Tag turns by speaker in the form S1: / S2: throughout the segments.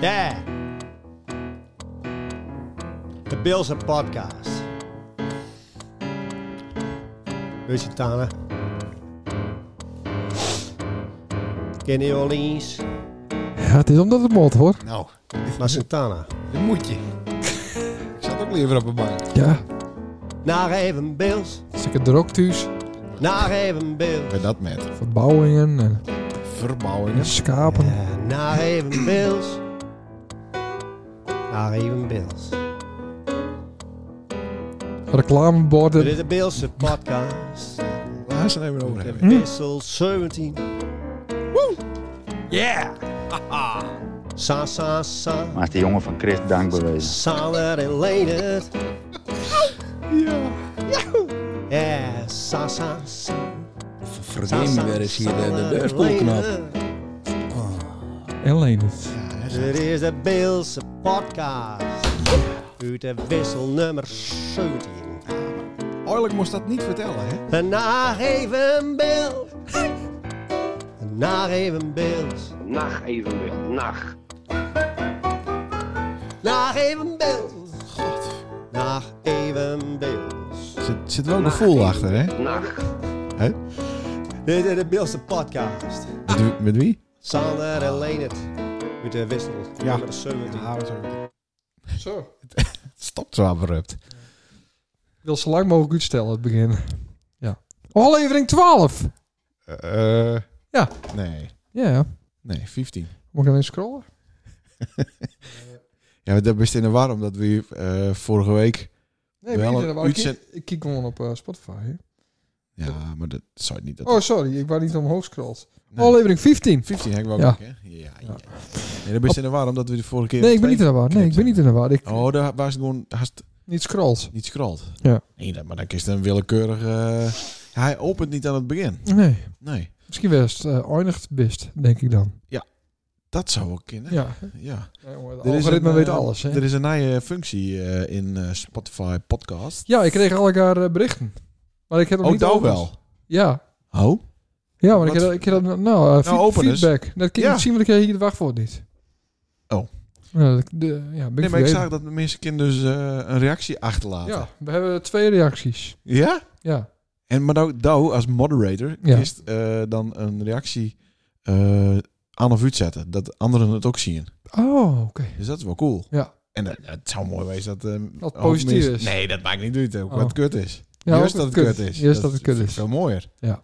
S1: Yeah. De Bills and Podcast. Rusje Tana. Kenny Orleans.
S2: Ja, het is omdat het mot hoor.
S3: Nou,
S1: Maar Santana.
S3: dat moet je. ik zat ook liever op een bank.
S2: Ja,
S1: Naar even Bills.
S2: zeker er ook thuis.
S1: Naar even Bills.
S3: Met dat met.
S2: Verbouwingen en,
S3: Verbouwingen.
S2: en schapen.
S1: Eh, naar even Bills. Naar even Bills. Dit
S2: Reclameborden.
S1: is de Bills and Podcast.
S3: Waar ze het even over hebben.
S1: Wissel 17. Woo! Yeah! Sa, sa, sa.
S4: Maar is die jongen van Chris dank bewezen.
S1: Solid and later. Yeah, sa, sa, sa.
S5: Vergeet weer eens hier de, de deurspoelknop.
S2: En lenens.
S1: Dit is de Beelse podcast. Uit de wissel nummer 17.
S3: Oorlijk moest dat niet vertellen, hè?
S1: En naar even Bill. En Naar even Bills.
S6: Nacht evenbeeld, nacht.
S1: Naar even Bills. Naar even Bills.
S3: Zit, zit wel een gevoel achter, hè?
S6: Nacht.
S1: Dit is de Beelse podcast.
S3: Met, wie- met wie?
S1: Sander en Leendert. Met de wissel.
S3: Ja.
S1: Nummer 17.
S3: Ah,
S2: Zo.
S3: Stop zo abrupt.
S2: Ik wil zo lang mogelijk uitstellen het begin. Ja. Aflevering 12.
S3: Eh, eh,
S2: Ja.
S3: Nee.
S2: Ja, ja.
S3: Nee, 15.
S2: Moet ik alleen scrollen?
S3: Ja, maar dat best in de war, omdat we eh, vorige week...
S2: Nee,
S3: Wel
S2: niet,
S3: een
S2: maar ik,
S3: uitzet-
S2: ik, ik kijk gewoon op eh, Spotify. hè.
S3: Ja, maar dat zou je niet... Dat...
S2: Oh, sorry. Ik was niet omhoog scrollt.
S3: Nee.
S2: Aflevering 15.
S3: 15 heb ik wel
S2: Ja.
S3: ja. hè? Ja, ja, ja. Nee, dat best in de war, omdat we de vorige keer...
S2: Nee, ik ben niet in de war. Nee, ik ben niet in de war. Ik
S3: Oh, daar was het gewoon... Had het
S2: niet scrolt.
S3: niet scrolled.
S2: Ja.
S3: Nee, dat- maar dan is het een willekeurig... eh, Hij opent niet aan het begin.
S2: Nee.
S3: Nee.
S2: Misschien best eh eindigt best, denk ik dan.
S3: Dat zou ook kunnen. Ja.
S2: Ja. Nee, jongen, het algoritme
S3: een,
S2: weet
S3: eh,
S2: alles. Hè?
S3: Er is een nieuwe functie eh, in eh, Spotify podcast.
S2: Ja, ik kreeg al elkaar eh, berichten. Maar ik heb hem
S3: Ook
S2: niet
S3: daar
S2: opens.
S3: Oh, wel.
S2: Ja.
S3: Oh?
S2: Ja, maar ik
S3: Wat-
S2: heb, ik heb dat... Nou, eh, fe-
S3: open dus.
S2: feedback. Dat kan je
S3: Ja.
S2: misschien, want ik heb hier de wachtwoord niet.
S3: Oh.
S2: Ja, dat- de, ja, ben
S3: Nee,
S2: ik
S3: maar ik
S2: vergeten.
S3: zag dat de mensen kunnen dus eh, een reactie achterlaten.
S2: Ja,
S3: Ja?
S2: we hebben twee reacties. Ja.
S3: En maar nou, nou als moderator
S2: Ja.
S3: is eh, dan een reactie eh, aan of uitzetten. Dat anderen het ook zien.
S2: Oh, oké.
S3: Dus dat is wel cool.
S2: Ja.
S3: En dat- het zou mooi wezen dat... eh,
S2: Dat
S3: ook
S2: positief
S3: mensen-
S2: is.
S3: Nee, dat maakt niet uit. Ook
S2: Oh.
S3: wat kut is.
S2: Ja,
S3: Juist
S2: ook
S3: dat het kut is.
S2: Juist dat het kut is.
S3: Veel mooier.
S2: Ja.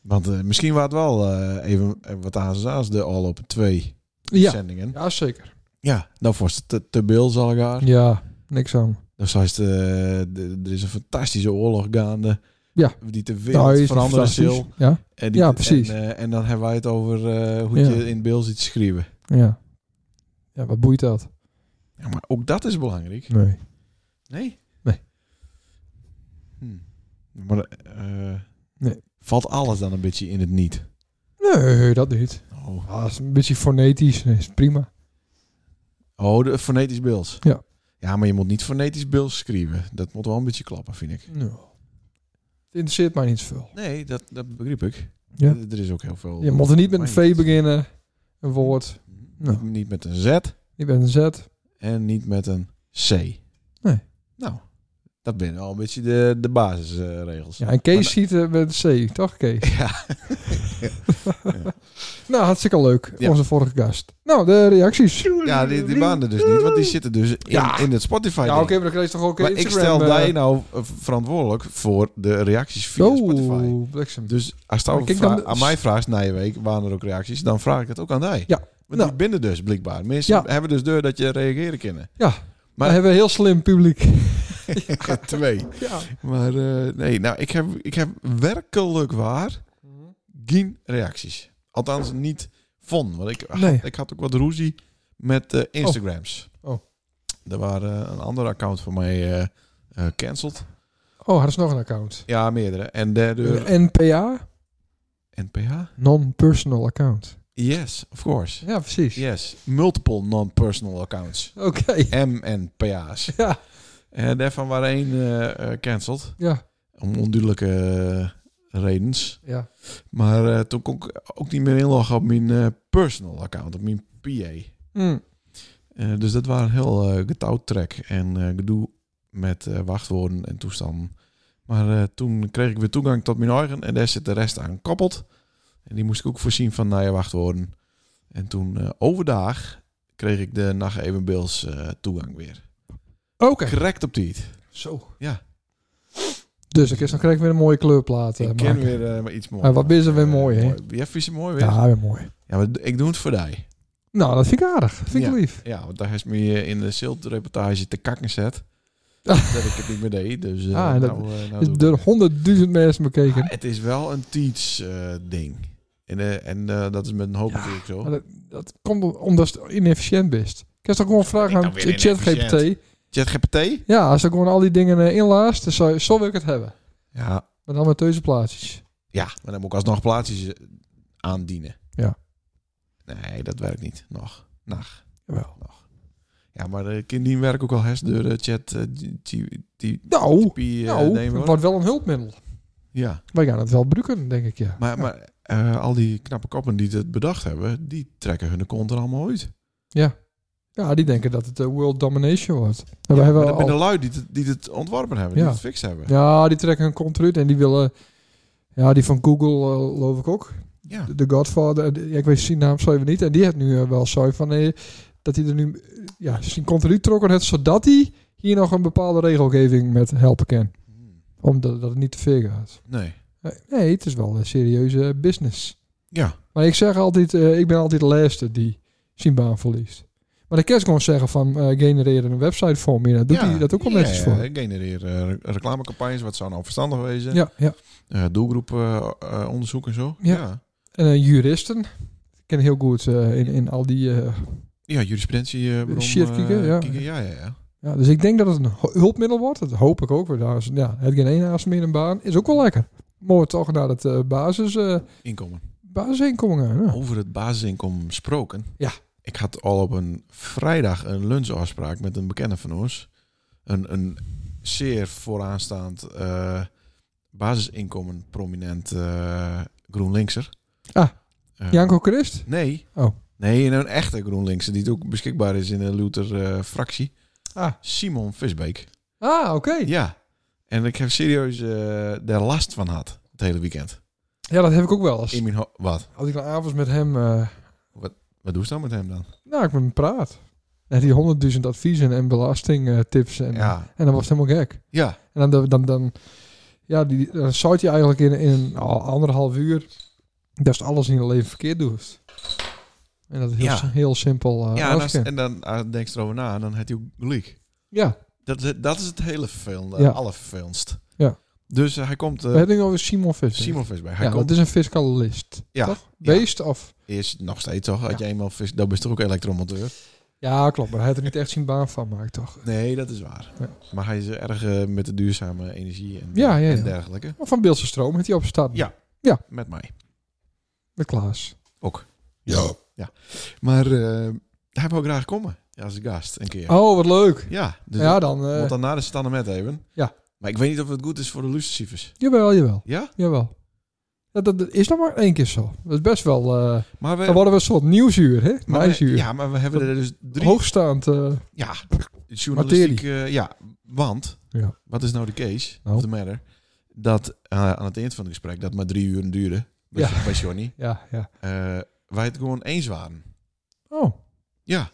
S3: Want eh, misschien was het wel eh, even eh, wat ASA's de al op twee
S2: Ja.
S3: zendingen.
S2: ja, zeker.
S3: Ja, nou voor ze te, te Bil zal gaan.
S2: Ja, niks aan.
S3: Dan zei ze, eh, de- er is een fantastische oorlog gaande.
S2: Ja.
S3: Die de wereld
S2: Nou, is
S3: veranderen
S2: fantastisch.
S3: zal.
S2: Ja,
S3: En die-
S2: Ja, precies.
S3: En, eh, en dan hebben wij het over eh, hoe
S2: Ja.
S3: je in Bil ziet schreeuwen.
S2: ja. Ja, wat boeit dat?
S3: Ja, maar ook dat is belangrijk.
S2: Nee.
S3: Nee?
S2: Nee.
S3: Hm. Maar eh,
S2: Nee.
S3: valt alles dan een beetje in het niet?
S2: Nee, dat niet.
S3: Oh.
S2: Ah, dat is een beetje fonetisch. Nee, is prima.
S3: Oh, de fonetisch Bills.
S2: Ja.
S3: Ja, maar je moet niet fonetisch Bills schrijven. Dat moet wel een beetje klappen, vind ik.
S2: Nou. Het interesseert mij niet zoveel.
S3: Nee, dat, dat begreep ik.
S2: Ja.
S3: Er- Er is ook heel veel...
S2: Je moet er niet met een
S3: Mij
S2: V beginnen. Een woord. Nou.
S3: Niet- Niet met een Z
S2: Je bent een Z.
S3: en niet met een C.
S2: Nee.
S3: Nou, dat zijn al een beetje de, de basisregels.
S2: Ja, en Kees ziet eh, met een C. Toch, Kees?
S3: Ja.
S2: Nou, hartstikke leuk.
S3: Ja.
S2: Onze vorige gast. Nou, de reacties.
S3: ja, die, die waren er dus niet, want die zitten dus in,
S2: Ja.
S3: in het Spotify.
S2: Ja, oké, maar dan kreeg je toch ook
S3: Maar ik
S2: Instagram,
S3: stel
S2: eh,
S3: jij nou eh, verantwoordelijk voor de reacties via
S2: oh,
S3: Spotify.
S2: bliksem.
S3: Dus als
S2: Maar
S3: het
S2: kijk
S3: vra-
S2: dan de-
S3: aan mij vraagt na je week, waren er ook reacties? Dan vraag ik het ook aan mij.
S2: Ja.
S3: Want
S2: Nou.
S3: die binden dus, blijkbaar. Mensen
S2: Ja.
S3: hebben dus deur dat je reageren kunnen.
S2: Ja, maar
S3: maar-
S2: hebben we heel slim publiek.
S3: Twee.
S2: ja.
S3: Maar eh, nee, nou, ik heb, ik heb werkelijk waar geen reacties. Althans, niet van. Want ik,
S2: Nee.
S3: ik had ook wat ruzie met eh, Instagrams.
S2: Oh. Oh.
S3: Er waren eh, een ander account van mij eh, eh, cancelled.
S2: Oh, er is nog een account.
S3: Ja, meerdere. En daardoor...
S2: NPA?
S3: NPH?
S2: Non-personal account.
S3: Yes, of course.
S2: Ja, precies.
S3: Yes. Multiple non-personal accounts.
S2: Oké.
S3: M en PA's.
S2: Ja.
S3: En daarvan waren één eh, eh, cancelled.
S2: Ja.
S3: Om onduidelijke eh, redens.
S2: Ja.
S3: Maar eh, toen kon ik ook niet meer inloggen op mijn eh, personal account, op mijn PA.
S2: Mm.
S3: Eh, dus dat was een heel eh getouwtrek en eh, gedoe met eh, wachtwoorden en toestanden. Maar eh, toen kreeg ik weer toegang tot mijn eigen en daar zit de rest aan gekoppeld. En die moest ik ook voorzien van naar je wachtwoorden. En toen eh, overdag kreeg ik de nacht evenbeels eh, toegang weer.
S2: Oké.
S3: Correct op tijd.
S2: Zo.
S3: Ja.
S2: Dus ik is dan kreeg ik weer een mooie kleurplaat. eh,
S3: Ik ken
S2: maken.
S3: weer eh, maar iets moois.
S2: Ah, wat ben je weer mooi, hè?
S3: Ja, vind je mooi weer? Ja.
S2: Ja, weer mooi.
S3: maar ik doe het voor die.
S2: Nou, dat vind ik aardig. Dat vind ik
S3: Ja.
S2: lief.
S3: Ja, want daar is me eh, in de Silt-reportage te kakken zet.
S2: Ah.
S3: dat ik het niet meer deed. Dus eh,
S2: Ah, en dat
S3: nou, eh, nou doe
S2: Is
S3: ik
S2: door
S3: het.
S2: honderdduizend mensen bekeken.
S3: Ah, het is wel een teach-ding. en eh, en eh, dat is met een hoop
S2: Ja,
S3: natuurlijk zo.
S2: maar Dat komt om- omdat je inefficiënt bent. Ik kan toch gewoon vragen
S3: ben
S2: aan
S3: ik nou weer
S2: ChatGPT.
S3: ChatGPT?
S2: Ja, als ik gewoon al die dingen eh, inlaast, dan zou, zo wil ik het hebben.
S3: Ja.
S2: Maar dan met deze plaatsjes.
S3: ja, maar dan moet ik alsnog plaatsjes eh, aandienen.
S2: Ja.
S3: Nee, dat werkt niet. Nog. Nog.
S2: Jawel.
S3: Nog. Ja, maar eh, de kinderen werken ook al hers door de chat. eh, die- die- die-
S2: Nou,
S3: die, eh,
S2: nou
S3: nemen,
S2: het
S3: hoor.
S2: wordt wel een hulpmiddel.
S3: Ja.
S2: Wij gaan het wel gebruiken, denk ik, ja.
S3: Maar, maar eh, al die knappe koppen die het bedacht hebben, die trekken hun kont er allemaal uit.
S2: Ja, die denken dat het eh, world domination wordt. En wij
S3: Ja,
S2: hebben
S3: maar dat
S2: al-
S3: zijn de lui die het, die het ontworpen hebben,
S2: Ja.
S3: die het fix hebben.
S2: ja, die trekken hun kont eruit en die willen... Ja, die van Google, eh, geloof ik ook.
S3: Ja.
S2: De Godfather, eh, die- ik weet zijn naam zo even niet. En die heeft nu eh, wel zo van... eh, dat hij er nu eh, ja, zijn kont eruit trokken heeft, zodat hij hier nog een bepaalde regelgeving met helpen kan. Omdat dat het niet te ver gaat.
S3: Nee.
S2: Eh, Nee, het is wel een serieuze eh, business.
S3: Ja.
S2: Maar ik zeg altijd, eh, ik ben altijd de laatste die zijn baan verliest. Maar de kerst gewoon zeggen van eh genereer een website voor me. Dat doet
S3: Ja.
S2: hij dat ook wel
S3: Ja,
S2: netjes
S3: ja,
S2: voor.
S3: ja. Genereer eh, re- reclamecampagnes, wat zou nou verstandig wezen?
S2: Ja, ja.
S3: Eh, doelgroepen eh, eh, onderzoek en zo.
S2: Ja.
S3: ja.
S2: En eh, juristen. Ik ken heel goed eh, in, in al die... eh,
S3: Ja, jurisprudentie. eh, waarom,
S2: Shit
S3: eh,
S2: kieken, ja.
S3: ja, ja, ja.
S2: ja, dus ik denk dat het een hu- hulpmiddel wordt. Dat hoop ik ook. Want daar is- Ja, het geen ene haast meer een baan. Is ook wel lekker. Mooi toch naar het eh, basis, eh,
S3: Inkomen.
S2: basisinkomen gaan. Ja.
S3: Over het basisinkomen gesproken.
S2: Ja.
S3: Ik had al op een vrijdag een lunchafspraak met een bekende van ons. Een, een zeer vooraanstaand eh, basisinkomen prominent eh, GroenLinkser.
S2: Ah,
S3: Eh,
S2: Janko Christ?
S3: Nee.
S2: Oh.
S3: Nee, een echte GroenLinkser die ook beschikbaar is in de Luther-fractie.
S2: Ah.
S3: Simon Visbeek.
S2: Ah, oké.
S3: Ja. En ik heb serieus eh, daar last van gehad het hele weekend.
S2: Ja, dat heb ik ook wel eens.
S3: In mijn ho- Wat?
S2: Als ik dan avonds met hem... eh,
S3: Wat doe je dan met hem dan?
S2: Nou, ik met hem praat. En die honderdduizend adviezen en belastingtips. En,
S3: Ja.
S2: en dan was het helemaal gek.
S3: Ja.
S2: En dan, dan, dan, ja, die, dan zou je eigenlijk in, in al- anderhalf uur... dat je alles in je leven verkeerd doet. En dat is heel,
S3: Ja.
S2: si- heel simpel. eh
S3: ja en, als-
S2: afscannen.
S3: en dan ah, denk je erover na en dan heb je ook gelijk.
S2: ja.
S3: Dat, is- dat is het hele vervelende,
S2: Ja.
S3: allervervelendst.
S2: Ja.
S3: Dus eh, hij komt, eh,
S2: We hebben het nu over Simon Visser.
S3: Simon Visbeek, hij
S2: ja,
S3: komt
S2: dat is een fiscalist.
S3: Ja,
S2: Toch?
S3: ja.
S2: Beest of...
S3: eerst nog steeds toch, als
S2: Ja.
S3: je eenmaal vis, dan ben je toch ook elektromonteur?
S2: Ja, klopt. Maar hij heeft er niet echt zijn baan van gemaakt, toch?
S3: Nee, dat is waar.
S2: Ja.
S3: Maar hij is erg eh, met de duurzame energie en,
S2: Ja, ja, ja.
S3: en dergelijke.
S2: Maar van Beelse Stroom heeft hij opstaan.
S3: Ja. Met mij.
S2: Met Klaas.
S3: Ja. ja. Maar eh, hij wil graag komen als gast een keer.
S2: Oh, wat leuk.
S3: Ja, dus
S2: ja, dan... eh,
S3: Want daarna is het dan met even.
S2: Ja.
S3: Maar ik weet niet of het goed is voor de lucifersivers.
S2: Jawel, jawel.
S3: Ja?
S2: Jawel. Dat, dat, dat is nog maar één keer zo. Dat is best wel... eh
S3: Maar we,
S2: dan worden we een soort nieuwsuur, hè?
S3: maar we-
S2: Nieuwsuur.
S3: ja, maar we hebben er dus drie...
S2: Hoogstaand. eh,
S3: Ja, journalistiek... eh, ja, want...
S2: Ja.
S3: Wat is nou de case?
S2: Nou.
S3: Of de matter? Dat eh, aan het eind van het gesprek, dat maar drie uur duurde... Bij,
S2: Ja.
S3: bij Johnny.
S2: ja, ja.
S3: eh, wij het gewoon eens waren.
S2: Oh,
S3: Ja.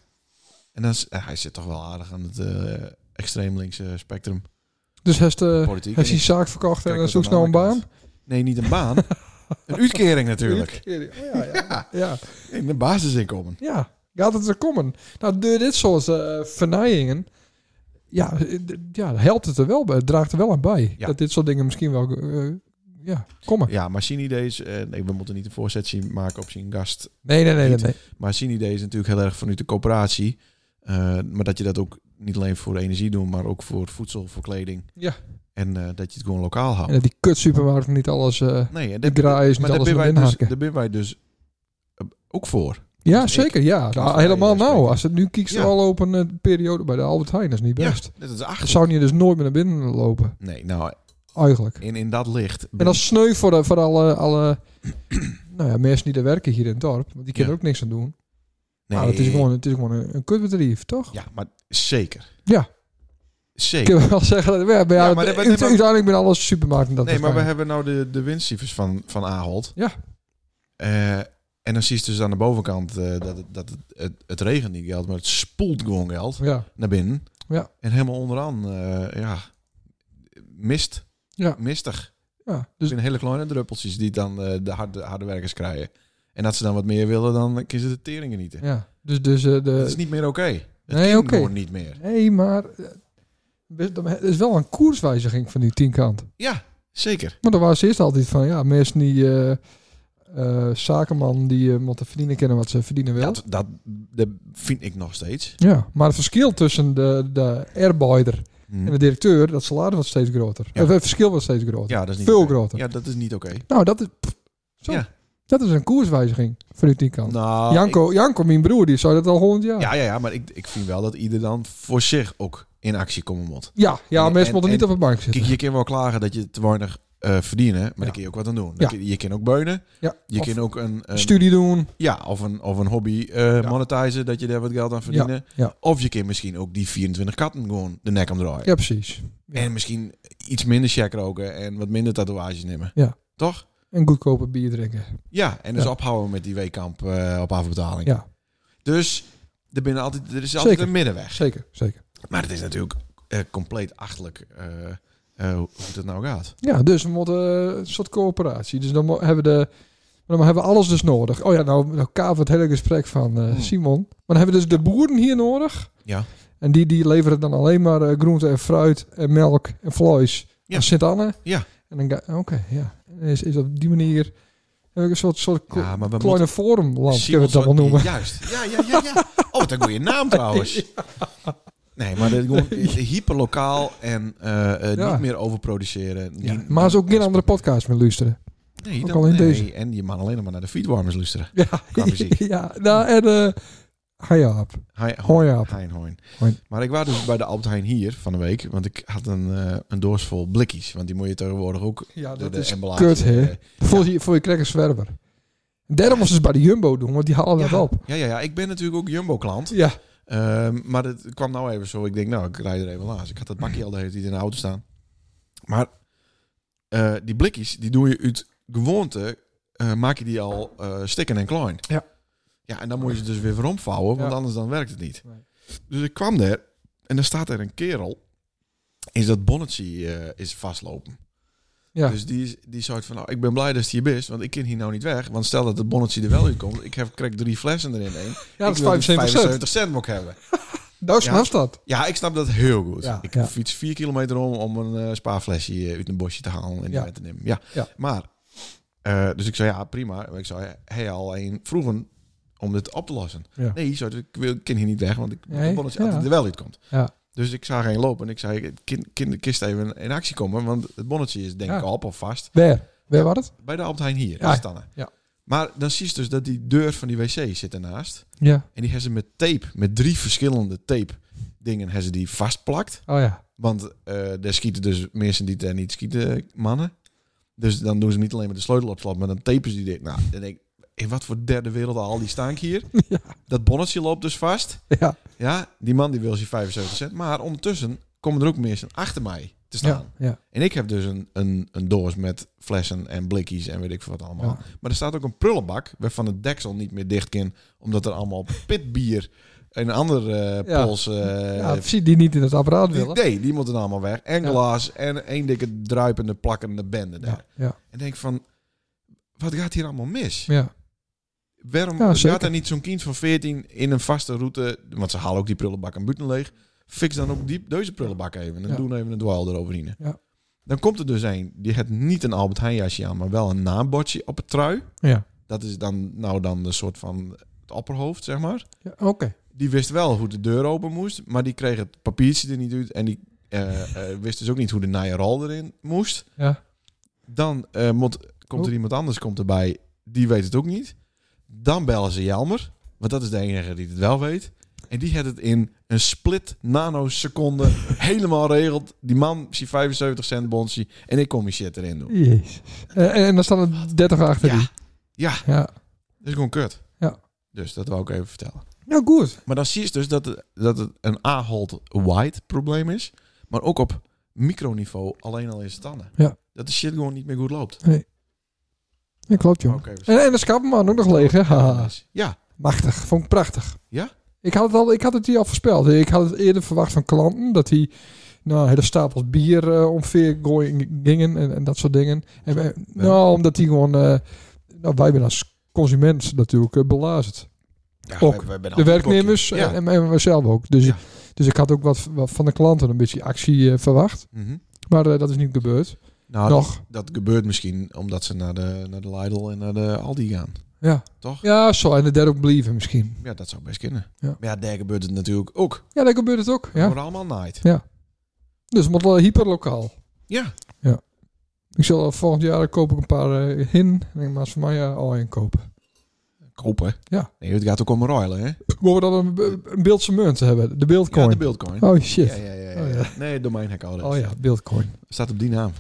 S3: En dan, is- eh, hij zit toch wel aardig aan het eh, extreem linkse spectrum
S2: dus hij is de-
S3: politiek.
S2: hij is
S3: En
S2: die
S3: ik
S2: zaak verkocht en
S3: kijk
S2: dan
S3: dat
S2: zoekt
S3: aan de
S2: nou een baan?
S3: andere kant. Nee, niet een baan. een uitkering natuurlijk.
S2: Uitkering. Oh, ja, ja. ja. ja.
S3: In een basisinkomen.
S2: ja. Gaat het er komen? Nou, door dit soort eh vernijingen... Ja, eh, d- ja, helpt het er wel bij. Het draagt er wel aan bij.
S3: Ja.
S2: Dat dit soort dingen misschien wel... eh, ja, komen.
S3: Ja, maar zien idee is... eh, nee, we moeten niet een voorzet zien maken op zijn gast.
S2: Nee, nee, nee, nee.
S3: Niet.
S2: nee.
S3: Maar zien idee is natuurlijk heel erg vanuit de coöperatie. Eh, maar dat je dat ook niet alleen voor energie doet, maar ook voor voedsel, voor kleding.
S2: Ja.
S3: En eh, dat je het gewoon lokaal
S2: En
S3: houdt.
S2: dat die kut supermarkt niet alles... eh,
S3: Nee, en
S2: die
S3: daar-
S2: graai is niet
S3: maar daar
S2: alles
S3: ben
S2: met
S3: wij dus,
S2: inhaken.
S3: daar ben wij dus eh, ook voor.
S2: Ja,
S3: Dus ik-
S2: zeker. Ja, Nou,
S3: voor mij
S2: helemaal
S3: spreken.
S2: nou. Als het nu kiekst
S3: Ja.
S2: al op een eh, periode bij de Albert Heijn, dat is niet best.
S3: Ja, dat is
S2: Dan
S3: achter.
S2: zou je dus nooit meer naar binnen lopen,
S3: Nee, nou,
S2: eigenlijk.
S3: in, in dat licht...
S2: En dat is sneu voor, de- voor alle, alle nou ja, mensen die er werken hier in het dorp. Want die kunnen
S3: Ja.
S2: er ook niks aan doen.
S3: Nee.
S2: Nou, het is gewoon, het is gewoon een, een kutbedrijf, toch?
S3: Ja, maar zeker.
S2: Ja. Ik
S3: Zeker.
S2: kan wel zeggen, dat, ja, bij
S3: Ja,
S2: jou,
S3: maar dat-
S2: u- uiteindelijk ben alles supermarkten. Dat
S3: Nee, maar we
S2: waarschijnlijk.
S3: hebben nou de, de winstcijfers van, van Ahold.
S2: Ja.
S3: Eh, en dan zie je dus aan de bovenkant eh, dat, het, dat het, het, het regent niet geld, maar het spoelt gewoon geld
S2: Ja.
S3: naar binnen.
S2: Ja.
S3: En helemaal onderaan, eh, ja, mist.
S2: Ja.
S3: Mistig.
S2: ja.
S3: Dus
S2: Dus,
S3: zijn hele kleine druppeltjes die dan eh, de harde, harde werkers krijgen. En dat ze dan wat meer willen, dan kiezen ze de teringen niet.
S2: ja. Dus, dus eh,
S3: Dat is
S2: de...
S3: niet meer oké. Het
S2: Nee,
S3: kan
S2: oké.
S3: gewoon niet meer.
S2: Nee, maar... eh, best- dan- Het is wel een koerswijziging van die tienkant.
S3: Ja, zeker.
S2: Maar daar waren ze eerst altijd van, ja, mensen die... eh eh, zakenman die eh, moeten verdienen kennen wat ze verdienen wil.
S3: Dat, dat, dat vind ik nog steeds.
S2: Ja, maar het verschil tussen de, de arbeider
S3: Hm.
S2: en de directeur, dat salaris wordt steeds groter.
S3: Ja.
S2: Of het verschil wordt steeds groter.
S3: Ja, dat is niet
S2: Veel
S3: oké.
S2: groter.
S3: Ja, dat is niet oké.
S2: Nou, dat is... pff, zo.
S3: Ja.
S2: Dat is een koerswijziging voor die tienkant.
S3: Nou,
S2: Janko, Janko, mijn broer, die zou dat al honderd jaar.
S3: ik- ja, ja, ja, maar ik, ik vind wel dat ieder dan voor zich ook in actie komen moet.
S2: Ja, ja
S3: En-
S2: mensen moeten
S3: en-
S2: niet op de bank
S3: Kijk,
S2: zitten.
S3: je kan wel klagen dat je te weinig eh verdient, hè, maar daar kun je ook wat aan doen. Dan
S2: Ja.
S3: kun Je, je kan ook beunen,
S2: ja,
S3: je
S2: of
S3: kan ook een, een-
S2: studie doen.
S3: ja, of een, of een hobby eh monetizen, dat je daar wat geld aan verdienen.
S2: ja.
S3: Of je kan misschien ook die 24 katten gewoon de nek omdraaien.
S2: Ja, precies.
S3: En misschien iets minder check roken en wat minder tatoeages nemen.
S2: Ja.
S3: Toch?
S2: En goedkope bier drinken.
S3: Ja, en dus
S2: Ja.
S3: ophouden met die weekkamp eh, op afbetaling.
S2: Ja.
S3: Dus er, binnen altijd, er is altijd
S2: Zeker.
S3: een middenweg.
S2: Zeker, zeker.
S3: Maar het is natuurlijk eh, compleet achtelijk eh, eh, hoe het nou gaat.
S2: Ja, dus we moeten eh, een soort coöperatie. Dus dan mo- hebben we de... maar Dan hebben we alles dus nodig. Oh ja, nou, nou kavert het hele gesprek van eh,
S3: Hmm.
S2: Simon. Maar dan hebben we dus de boeren hier nodig.
S3: Ja.
S2: En die, die leveren dan alleen maar eh, groente en fruit en melk en vlees.
S3: Ja.
S2: Ja. Sint-Anne.
S3: Ja.
S2: En dan, ga- oké, ja. Is, is op die manier heb ik een soort, soort ko-
S3: Ja, Ah, maar we
S2: kleine forumland, kunnen we
S3: Simon
S2: het dan wel
S3: zou-
S2: noemen.
S3: Juist. Ja, ja, ja, ja. Oh, wat een goede naam trouwens. Nee, maar dit gewoon hyperlokaal en eh, eh,
S2: Ja.
S3: niet meer overproduceren.
S2: Ja,
S3: Niet-
S2: maar ze ook geen andere podcast meer luisteren.
S3: Nee,
S2: ook
S3: dan,
S2: al in
S3: nee.
S2: deze.
S3: En je mag alleen nog maar naar de feedwarmers luisteren.
S2: Ja,
S3: Qua muziek.
S2: ja. Nou, en eh hi Jaap.
S3: Hein,
S2: Hoi, Jaap.
S3: Hein, hoin.
S2: Hoin.
S3: Maar ik was dus bij de Albert Heijn hier van de week. Want ik had een, eh, een doos vol blikjes. Want die moet je tegenwoordig ook
S2: Ja,
S3: door
S2: dat
S3: de
S2: is
S3: emballage...
S2: kut, hè?
S3: eh,
S2: voor, je, voor je crack een zwerver. Daarom moesten ze het bij de Jumbo doen, want die halen dat op.
S3: ja, ja, ja, ik ben natuurlijk ook Jumbo-klant.
S2: Ja,
S3: Ehm, maar het kwam nou even zo. Ik denk, nou, ik rijd er even langs. Ik had dat bakje al de hele tijd in de auto staan. Maar eh, die blikjes, die doe je uit gewoonte, eh, maak je die al eh, stikken en klein.
S2: Ja.
S3: Ja, en dan moet je ze dus weer weer omvouwen, want
S2: Ja.
S3: anders dan werkt het niet.
S2: Nee.
S3: Dus ik kwam daar en dan staat er een kerel. Is dat bonnetje eh, is vastlopen.
S2: Ja.
S3: Dus die, is- die soort van, nou, ik ben blij dat het hier is, want ik kan hier nou niet weg. Want stel dat het bonnetje er wel in komt, ik heb, krijg drie flessen erin. één.
S2: ja dat
S3: Ik
S2: is
S3: wil die
S2: 75 cent.
S3: 75 cent moet ik hebben.
S2: Nou,
S3: Ja.
S2: snap dat.
S3: Ja, ik snap dat heel goed.
S2: Ja,
S3: ik
S2: ja.
S3: fiets vier kilometer om om een eh, spaarflesje eh, uit een bosje te halen en die
S2: Ja.
S3: met te nemen. Ja,
S2: Ja.
S3: maar. eh, dus ik zei, ja, prima. Maar ik zei, hey, al een vroegen om dit op te lossen.
S2: Ja.
S3: Nee, zo, ik wil ik kan hier niet weg, want ik
S2: Nee,
S3: nee, dat
S2: ja.
S3: er wel uitkomt.
S2: Ja.
S3: Dus ik zag geen lopen en ik zei, ik kin- kin de kist even in actie komen, want het bonnetje is denk
S2: Ja.
S3: ik op of vast.
S2: Waar? Waar was het?
S3: Bij de Albert Heijn hier,
S2: Ja.
S3: in Stanne.
S2: Ja.
S3: Maar dan zie je dus dat die deur van die wc zit ernaast.
S2: Ja.
S3: En die hebben ze met tape, met drie verschillende tape dingen, hebben ze die vastplakt.
S2: Oh ja.
S3: Want eh daar schieten dus mensen die daar niet schieten, mannen. Dus dan doen ze niet alleen met de sleutel op slot, maar dan tapen ze die dit. Nou, dan denk ik, in wat voor derde wereld al die stank hier.
S2: Ja.
S3: Dat bonnetje loopt dus vast.
S2: Ja.
S3: Ja, die man die wil zijn 75 cent. Maar ondertussen komen er ook mensen achter mij te staan.
S2: Ja. ja.
S3: En ik heb dus een, een, een doos met flessen en blikjes en weet ik veel wat allemaal.
S2: Ja.
S3: Maar er staat ook een prullenbak waarvan het deksel niet meer dicht kan. Omdat er allemaal pitbier en ander eh
S2: Ja.
S3: pols eh,
S2: Ja, precies, die niet in het apparaat
S3: die,
S2: willen.
S3: nee, die moeten allemaal weg. En
S2: Ja.
S3: glas en één dikke druipende, plakkende bende daar.
S2: Ja, ja,
S3: En denk van, wat gaat hier allemaal mis?
S2: ja,
S3: Waarom
S2: Ja, zeker.
S3: gaat er niet zo'n kind van 14 in een vaste route... Want ze halen ook die prullenbak en buiten leeg. Fix dan ook die, deze prullenbak even. En
S2: Ja.
S3: doen even een dwaal eroverheen.
S2: Ja.
S3: Dan komt er dus een, die heeft niet een Albert Heijn jasje aan... maar wel een naambordje op het trui.
S2: ja.
S3: Dat is dan nou dan een soort van het opperhoofd, zeg maar.
S2: Ja, Oké.
S3: Die wist wel hoe de deur open moest, maar die kreeg het papiertje er niet uit. En die eh, eh, wist dus ook niet hoe de naaierol erin moest.
S2: Ja.
S3: Dan eh, moet, komt er
S2: Oh.
S3: iemand anders komt erbij, die weet het ook niet. Dan bellen ze Jelmer, want dat is de enige die het wel weet. En die had het in een split nanoseconde helemaal regeld. Die man, zie 75 cent bonsie en ik kom die shit erin doen.
S2: Jezus. Eh, en, en dan staan er 30 achter
S3: Ja.
S2: die.
S3: Ja.
S2: Ja.
S3: Dat is gewoon kut.
S2: Ja.
S3: Dus dat wou ik even vertellen.
S2: Nou, goed.
S3: Maar dan zie je dus dat het, dat het een A-hold-wide probleem is. Maar ook op microniveau alleen al in standen.
S2: Ja.
S3: Dat de shit gewoon niet meer goed loopt.
S2: Ja, klopt, joh.
S3: Oké, we
S2: En, en de schappenman ook nog leeg, hè? Haha.
S3: Ja,
S2: Machtig. Vond ik prachtig.
S3: Ja?
S2: Ik had het, al, ik had het hier al voorspeld. Ik had het eerder verwacht van klanten. Dat die nou, hele stapels bier eh, omver gooien- gingen en, en dat soort dingen. En, wij- Nou, omdat die gewoon... eh, nou, wij zijn als consument natuurlijk eh, belazerd.
S3: ja
S2: Ook
S3: wij- wij zijn
S2: De
S3: al-
S2: werknemers eh,
S3: Ja.
S2: en, en mijzelf ook. Dus,
S3: Ja.
S2: dus ik had ook wat, wat van de klanten een beetje actie eh, verwacht.
S3: Mhm.
S2: Maar eh, dat is niet gebeurd.
S3: Nou, dat,
S2: nog.
S3: dat gebeurt misschien omdat ze naar de, naar de Lidl en naar de Aldi gaan.
S2: Ja.
S3: Toch?
S2: Ja, zo. En de derde ook blijven misschien.
S3: Ja, dat zou best kunnen.
S2: Ja.
S3: Maar ja, daar gebeurt het natuurlijk ook.
S2: Ja, dat gebeurt het ook.
S3: Ja.
S2: Ja.
S3: Wordt allemaal night.
S2: Dus het moet wel hyperlokaal.
S3: Ja.
S2: Ik zal eh, volgend jaar koop ik een paar eh, hin. En ik maar eens voor mij eh, al een kopen.
S3: Kopen.
S2: Ja.
S3: Nee, het gaat ook om ruilen, hè?
S2: Mogen we dan een, be- een beeldse munt hebben? De
S3: Ja,
S2: beeldcoin.
S3: de Beeldcoin.
S2: oh
S3: Ja,
S2: shit.
S3: ja, ja.
S2: Oh,
S3: ja.
S2: ja.
S3: Nee, domeinhekhouders.
S2: Oh ja, beeldcoin.
S3: Staat op die naam.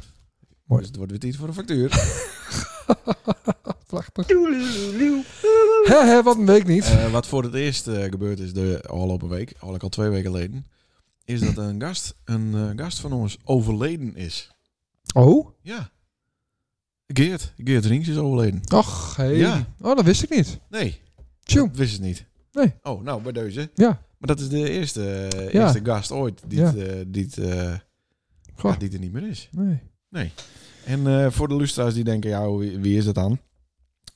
S2: Mooi.
S3: Dus het wordt weer tijd voor een factuur.
S2: Prachtig. Hè, hè, wat een week niet.
S3: Eh, wat voor het eerst eh, gebeurd is de afgelopen week, eigenlijk al twee weken geleden, is dat een gast, een eh, gast van ons overleden is.
S2: oh?
S3: Ja. Geert, Geert Rings is overleden.
S2: Och, hey.
S3: Ja.
S2: Oh, dat wist ik niet.
S3: Nee,
S2: Tjoe.
S3: dat wist het niet.
S2: Nee.
S3: Oh, nou, bij deze.
S2: Ja.
S3: Maar dat is de eerste, eh,
S2: Ja.
S3: eerste gast ooit die,
S2: Ja.
S3: het, eh, die, het, eh,
S2: Goh.
S3: ja, die er niet meer is.
S2: Nee.
S3: En eh, voor de lustra's die denken, ja, wie, wie is dat dan?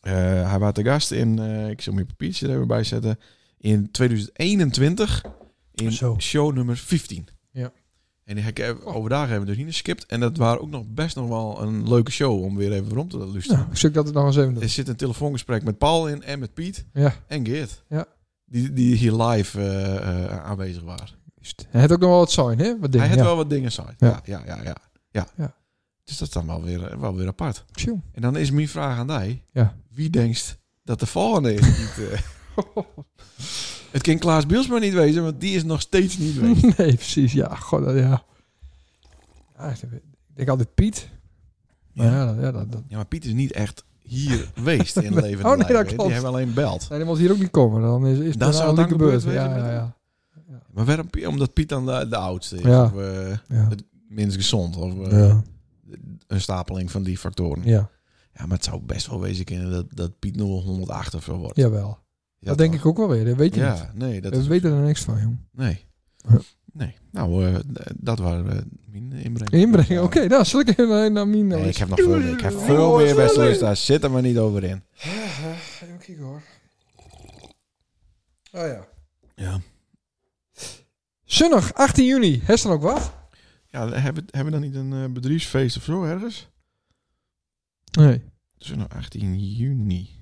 S3: Eh, hij was de gast in, eh, ik zal mijn papiertje er even bij zetten, in 2021 in
S2: Zo.
S3: show nummer 15.
S2: Ja. Oh.
S3: En ik heb, overdag hebben we dus niet geskipt. En dat waren ook nog best nog wel een leuke show om weer even rond te luisteren.
S2: Nou, ik zoek dat het nog eens even
S3: Er
S2: doen.
S3: zit een telefoongesprek met Paul in en met Piet
S2: Ja.
S3: en Geert.
S2: Ja.
S3: Die, die hier live eh, eh, aanwezig waren.
S2: Juist. Hij had ook nog wel wat zijn, hè? Wat dingen,
S3: Hij
S2: ja.
S3: had wel wat dingen site. Ja.
S2: Ja.
S3: Ja, ja, ja, ja,
S2: Ja.
S3: Dus dat is dan wel weer, wel weer apart.
S2: Tjoe.
S3: En dan is mijn vraag aan mij.
S2: Ja.
S3: Wie denkt dat de volgende is? Niet, eh, het kan Klaas Bielsma niet wezen, want die is nog steeds niet weg.
S2: nee, precies. Ja, god, dat- ja. ja. Ik denk altijd Piet. Maar
S3: Ja.
S2: ja, dat, ja, dat, dat-
S3: Ja, maar Piet is niet echt hier geweest in leven.
S2: Oh, nee, dat
S3: lijden.
S2: klopt.
S3: Die hebben alleen beld.
S2: Nee, die moet hier ook niet komen. Dan is, is
S3: Dan
S2: daarna
S3: zou het
S2: niet
S3: dan
S2: gebeurd.
S3: gebeurd
S2: Ja,
S3: wezen
S2: ja,
S3: met hem.
S2: ja.
S3: Maar waarom? Piet? Omdat Piet dan de, de oudste is.
S2: Ja.
S3: Of eh,
S2: Ja.
S3: het minst gezond. Of eh,
S2: Ja.
S3: een stapeling van die factoren. Ja.
S2: ja,
S3: maar het zou best wel wezen kunnen dat, dat Piet nog 108 of zo wordt.
S2: jawel.
S3: Ja,
S2: dat denk
S3: toch?
S2: ik ook wel weer. Dat weet je niet.
S3: Ja, nee. Dat
S2: We
S3: is,
S2: weten er niks van, jong.
S3: nee.
S2: Ja.
S3: Nee. Nou, eh, dat waren eh, mijn inbreng.
S2: Inbrengen.
S3: Ja.
S2: Oké, nou, zal ik even naar, naar Mina.
S3: Nee, ik heb nog veel meer. Ik heb veel meer beste luisteraars. Zit er maar niet over in.
S2: Even kijken hoor. Oh ja.
S3: Ja.
S2: Zonnig, 18 juni. Heeft dan ook wat?
S3: Ja, hebben, hebben we dan niet een eh, bedrijfsfeest of zo ergens?
S2: Nee.
S3: Dus nou 18 juni.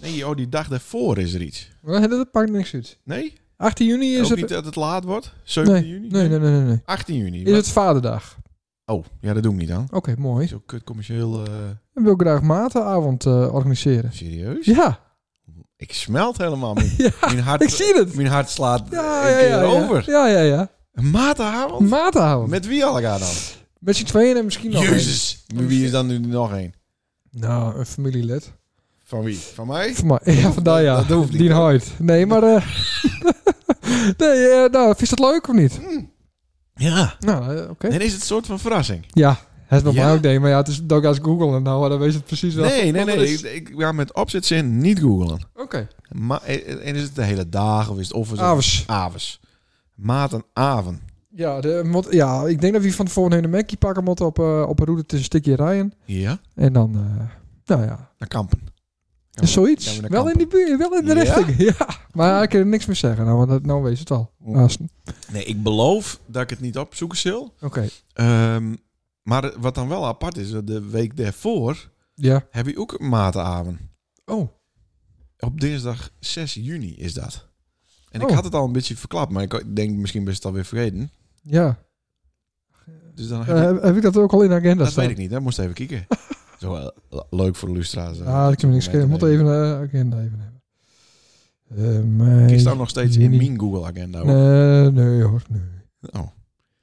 S3: Nee, oh, die dag daarvoor is er iets.
S2: Dat pakt niks uit.
S3: Nee?
S2: 18 juni is
S3: Ook
S2: het...
S3: niet dat het laat wordt? 17
S2: nee.
S3: juni?
S2: Nee, nee, nee, nee, nee.
S3: 18 juni.
S2: Is het vaderdag?
S3: Oh, ja, dat doe ik niet aan.
S2: Oké, mooi.
S3: Zo kut commercieel. eh,
S2: Dan wil ik graag matenavond eh, organiseren.
S3: serieus?
S2: Ja,
S3: Ik smelt helemaal. Mijn,
S2: ja,
S3: mijn hart,
S2: ik zie het.
S3: Mijn hart slaat
S2: Ja,
S3: een
S2: ja,
S3: keer
S2: ja. ja.
S3: over.
S2: Ja, ja, ja.
S3: Een matenavond?
S2: Matenavond. Met,
S3: Met wie allemaal dan?
S2: met z'n tweeën en misschien nog
S3: Jezus. Wie is dan nu nog één?
S2: één. Nou, een familielid.
S3: Van wie? Van mij?
S2: Van mij. Ja, vandaar ja.
S3: Dat hoeft niet,
S2: Die
S3: hoor.
S2: hard. Nee, maar... eh nee, eh, nou, vind je dat leuk of niet?
S3: Ja.
S2: Nou, eh, oké.
S3: Dan is het een soort van verrassing.
S2: Ja, het is nog
S3: Ja?
S2: maar ook nee, maar ja, het is ook als Google en nou, dan weet je het precies wel.
S3: Nee, nee,
S2: Want
S3: nee.
S2: dat is-
S3: Ik, ik ga met opzetzin niet googlen.
S2: Oké.
S3: Maar, eh, en is het de hele dag of is het of is het
S2: Avonds.
S3: avonds? Maat en avond.
S2: Ja, de, mot- ja, ik denk dat we van tevoren een hele Mackie pakken moet op, eh, op een route tussen Stikje en Rijen.
S3: Ja,
S2: En dan, eh, nou ja,
S3: naar kampen.
S2: is zoiets.
S3: gaan we naar
S2: wel in die buurt, wel in de
S3: Ja?
S2: richting. Ja, maar ik kan er niks meer zeggen. Nou, want dat, nou weet je het al.
S3: Oeh.
S2: Naast-
S3: Nee, ik beloof dat ik het niet opzoeken zal.
S2: Oké,
S3: Ehm, maar wat dan wel apart is, de week daarvoor
S2: ja.
S3: heb je ook een maatavond.
S2: Oh,
S3: Op dinsdag 6 juni is dat. En ik
S2: Oh.
S3: had het al een beetje verklapt, maar ik denk misschien best het alweer vergeten.
S2: ja.
S3: Dus dan
S2: Eh,
S3: heb ik,
S2: heb, heb ik dat ook al in de agenda
S3: dat
S2: staan?
S3: weet ik niet, hè? moest even kijken. Zo wel leuk voor de lustra's. eh,
S2: Ah, ik kan me niks
S3: momenten
S2: schelen. Moet
S3: nemen.
S2: even een agenda even hebben. Eh mei,
S3: Ik sta nog steeds in
S2: juni.
S3: mijn Google-agenda. hoor.
S2: Nee, nee hoor, nee.
S3: Oh.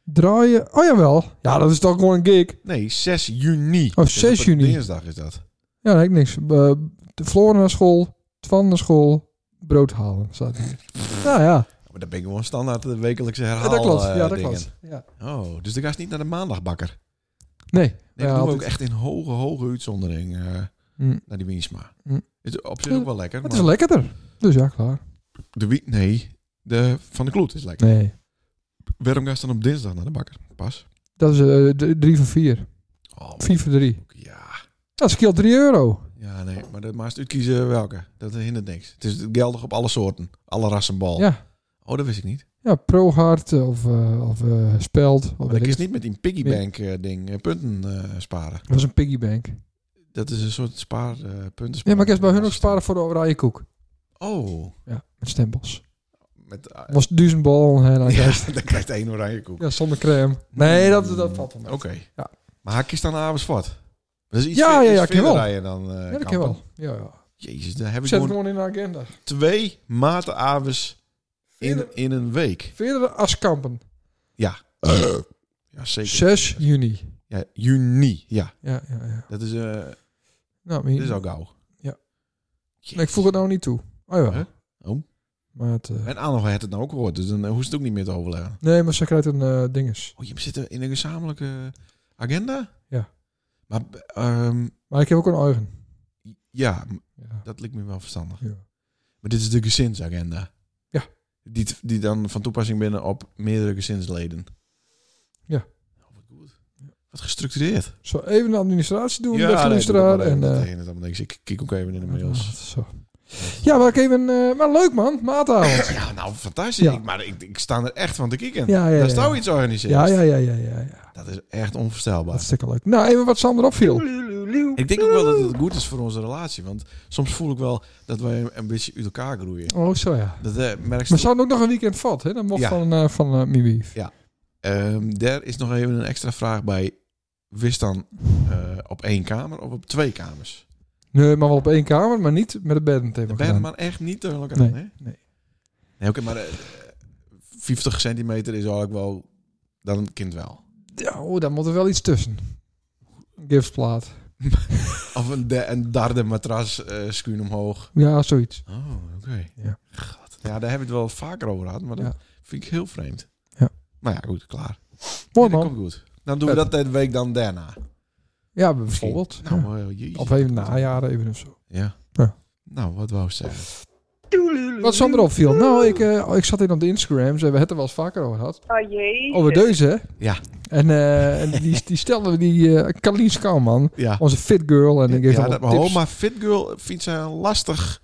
S2: Draaien. Oh jawel. Ja, dat is toch gewoon een gig.
S3: Nee, 6 juni.
S2: Oh,
S3: Dus
S2: 6
S3: op een
S2: juni.
S3: Dinsdag is dat.
S2: Ja, nee, ik niks. Eh, de Floor naar school, Twan naar school, brood halen, staat hier. Ja, ja.
S3: Maar dat ben ik gewoon standaard de wekelijkse
S2: ja
S3: herhaal.
S2: dat klopt.
S3: eh,
S2: Ja, dat
S3: dingen.
S2: klopt. Ja.
S3: Oh, dus de gast niet naar de maandagbakker.
S2: Nee.
S3: Nee,
S2: Ja,
S3: dat doen we
S2: altijd.
S3: ook echt in hoge, hoge uitzondering eh,
S2: Hm.
S3: naar die Wiensma.
S2: Hm.
S3: Is op zich ook wel lekker.
S2: Het
S3: maar
S2: is lekkerder. Dus ja, klaar.
S3: De wie, nee, de van de kloot is lekker.
S2: Nee.
S3: Waarom ga je dan op dinsdag naar de bakker? Pas.
S2: Dat is eh, d- drie voor vier.
S3: Oh, maar-
S2: Vier voor drie.
S3: ja.
S2: Dat scheelt drie euro.
S3: ja, nee, maar dat maakt uitkiezen welke. Dat hindert niks. Het is geldig op alle soorten, alle rassen bal.
S2: Ja.
S3: Oh, dat wist ik niet.
S2: Ja, ProHard of, eh, of eh, Speld. Of
S3: Maar dat
S2: weet ik.
S3: is niet met die piggybank eh, ding eh, punten eh, sparen.
S2: Dat was een piggybank.
S3: Dat is een soort spaar eh punten.
S2: Ja, maar ik is bij hun ook sparen voor de oranje koek.
S3: Oh,
S2: Ja, met stempels.
S3: met eh,
S2: Dat was duizend bal en hij ja.
S3: ja, dan krijgt één oranje koek. Mm,
S2: ja, zonder crème. Nee, dat, dat valt wel mee.
S3: Oké.
S2: Ja.
S3: Maar hij kiest dan avonds wat. Dat is iets
S2: Ja,
S3: ver-
S2: ja, ja,
S3: iets
S2: ik ken
S3: verder
S2: wel.
S3: rijden dan. eh
S2: Ja, dat kan
S3: Kampen.
S2: wel. Ja, ja.
S3: Jezus, daar heb ik
S2: Zet het
S3: gewoon
S2: gewoon in de agenda.
S3: twee maten avonds in,
S2: Verder-
S3: in een week.
S2: Verdere askampen.
S3: Ja, zeker.
S2: 6 juni.
S3: Ja, juni, ja.
S2: Ja, ja, ja.
S3: Dat is, eh dat
S2: Nou, maar-
S3: is al gauw.
S2: Ja.
S3: Jezus.
S2: Nee, ik voeg het nou niet toe. Oh ja.
S3: Huh? Oh.
S2: Maar het, eh,
S3: En Anno had het nou ook gehoord, dus dan eh, hoeft het ook niet meer te overleggen.
S2: nee, maar ze krijgt een eh dinges.
S3: Oh, je zit er in een gezamenlijke agenda?
S2: Ja.
S3: Maar, ehm,
S2: Maar ik heb ook een eigen.
S3: ja, m-
S2: Ja.
S3: dat lijkt me wel verstandig.
S2: Ja.
S3: Maar dit is de gezinsagenda.
S2: Ja.
S3: Die, t- die dan van toepassing binnen op meerdere gezinsleden.
S2: Ja.
S3: Oh, wat goed. Wat gestructureerd.
S2: Zo even de administratie doen,
S3: Ja,
S2: beste
S3: nee,
S2: luisteraar.
S3: doe dat
S2: En,
S3: maar even.
S2: eh,
S3: Dat hindert allemaal niks. Ik kijk ook even in de mails.
S2: zo. Ja, maar ik even... eh, maar leuk man, maatavond.
S3: Ja, nou, fantastisch.
S2: Ja.
S3: Ik- Maar ik, ik sta er echt van te kijken.
S2: Ja, ja,
S3: Daar
S2: ja.
S3: is nou iets organiseerd.
S2: Ja, ja, ja, ja, ja, ja.
S3: Dat is echt onvoorstelbaar.
S2: Hartstikke leuk. Nou, even wat Sander opviel.
S3: Ik denk ook wel dat het goed is voor onze relatie. Want soms voel ik wel dat wij een beetje uit elkaar groeien.
S2: Oh, zo ja.
S3: Dat eh, merk je.
S2: Maar ze hadden ook nog een weekend vat, hè? Dat mocht
S3: Ja.
S2: van, eh van eh, Mimief.
S3: Ehm, daar is nog even een extra vraag bij. Wist dan eh, op één kamer of op twee kamers?
S2: Nee, maar wel op één kamer, maar niet met de bedden.
S3: De band maar echt niet tegen elkaar.
S2: Nee,
S3: hè?
S2: nee.
S3: Nee, oké, maar eh, 50 centimeter is eigenlijk wel... Dan een kind wel.
S2: Ja, oh, daar moet er wel iets tussen. Gipsplaat.
S3: Of een, de, een derde matras eh schuin omhoog.
S2: Ja, zoiets.
S3: Oh, oké.
S2: Ja.
S3: God. Ja, daar hebben we het wel vaker over gehad, maar dat
S2: Ja.
S3: vind ik heel vreemd.
S2: Ja.
S3: Maar ja, goed, klaar.
S2: Mooi
S3: Nee, dat
S2: man.
S3: komt goed. Dan doen we dat de week dan daarna.
S2: Ja, bijvoorbeeld.
S3: Nou,
S2: Ja.
S3: eh, jezus.
S2: Of even najaren, even of zo.
S3: Ja.
S2: Ja.
S3: Nou, wat wou ik zeggen?
S2: Wat Sander opviel. Nou, ik, eh, ik zat in op de Instagrams en we hebben het er wel eens vaker over gehad.
S7: Oh jee.
S2: Over deze, hè?
S3: Ja.
S2: En eh, en die, die stelde die eh Carlien Schouwman,
S3: Ja.
S2: onze fit girl. En Oh, ik geef
S3: ja,
S2: allemaal
S3: dat, maar,
S2: tips.
S3: ho, maar fit girl vindt zij een lastig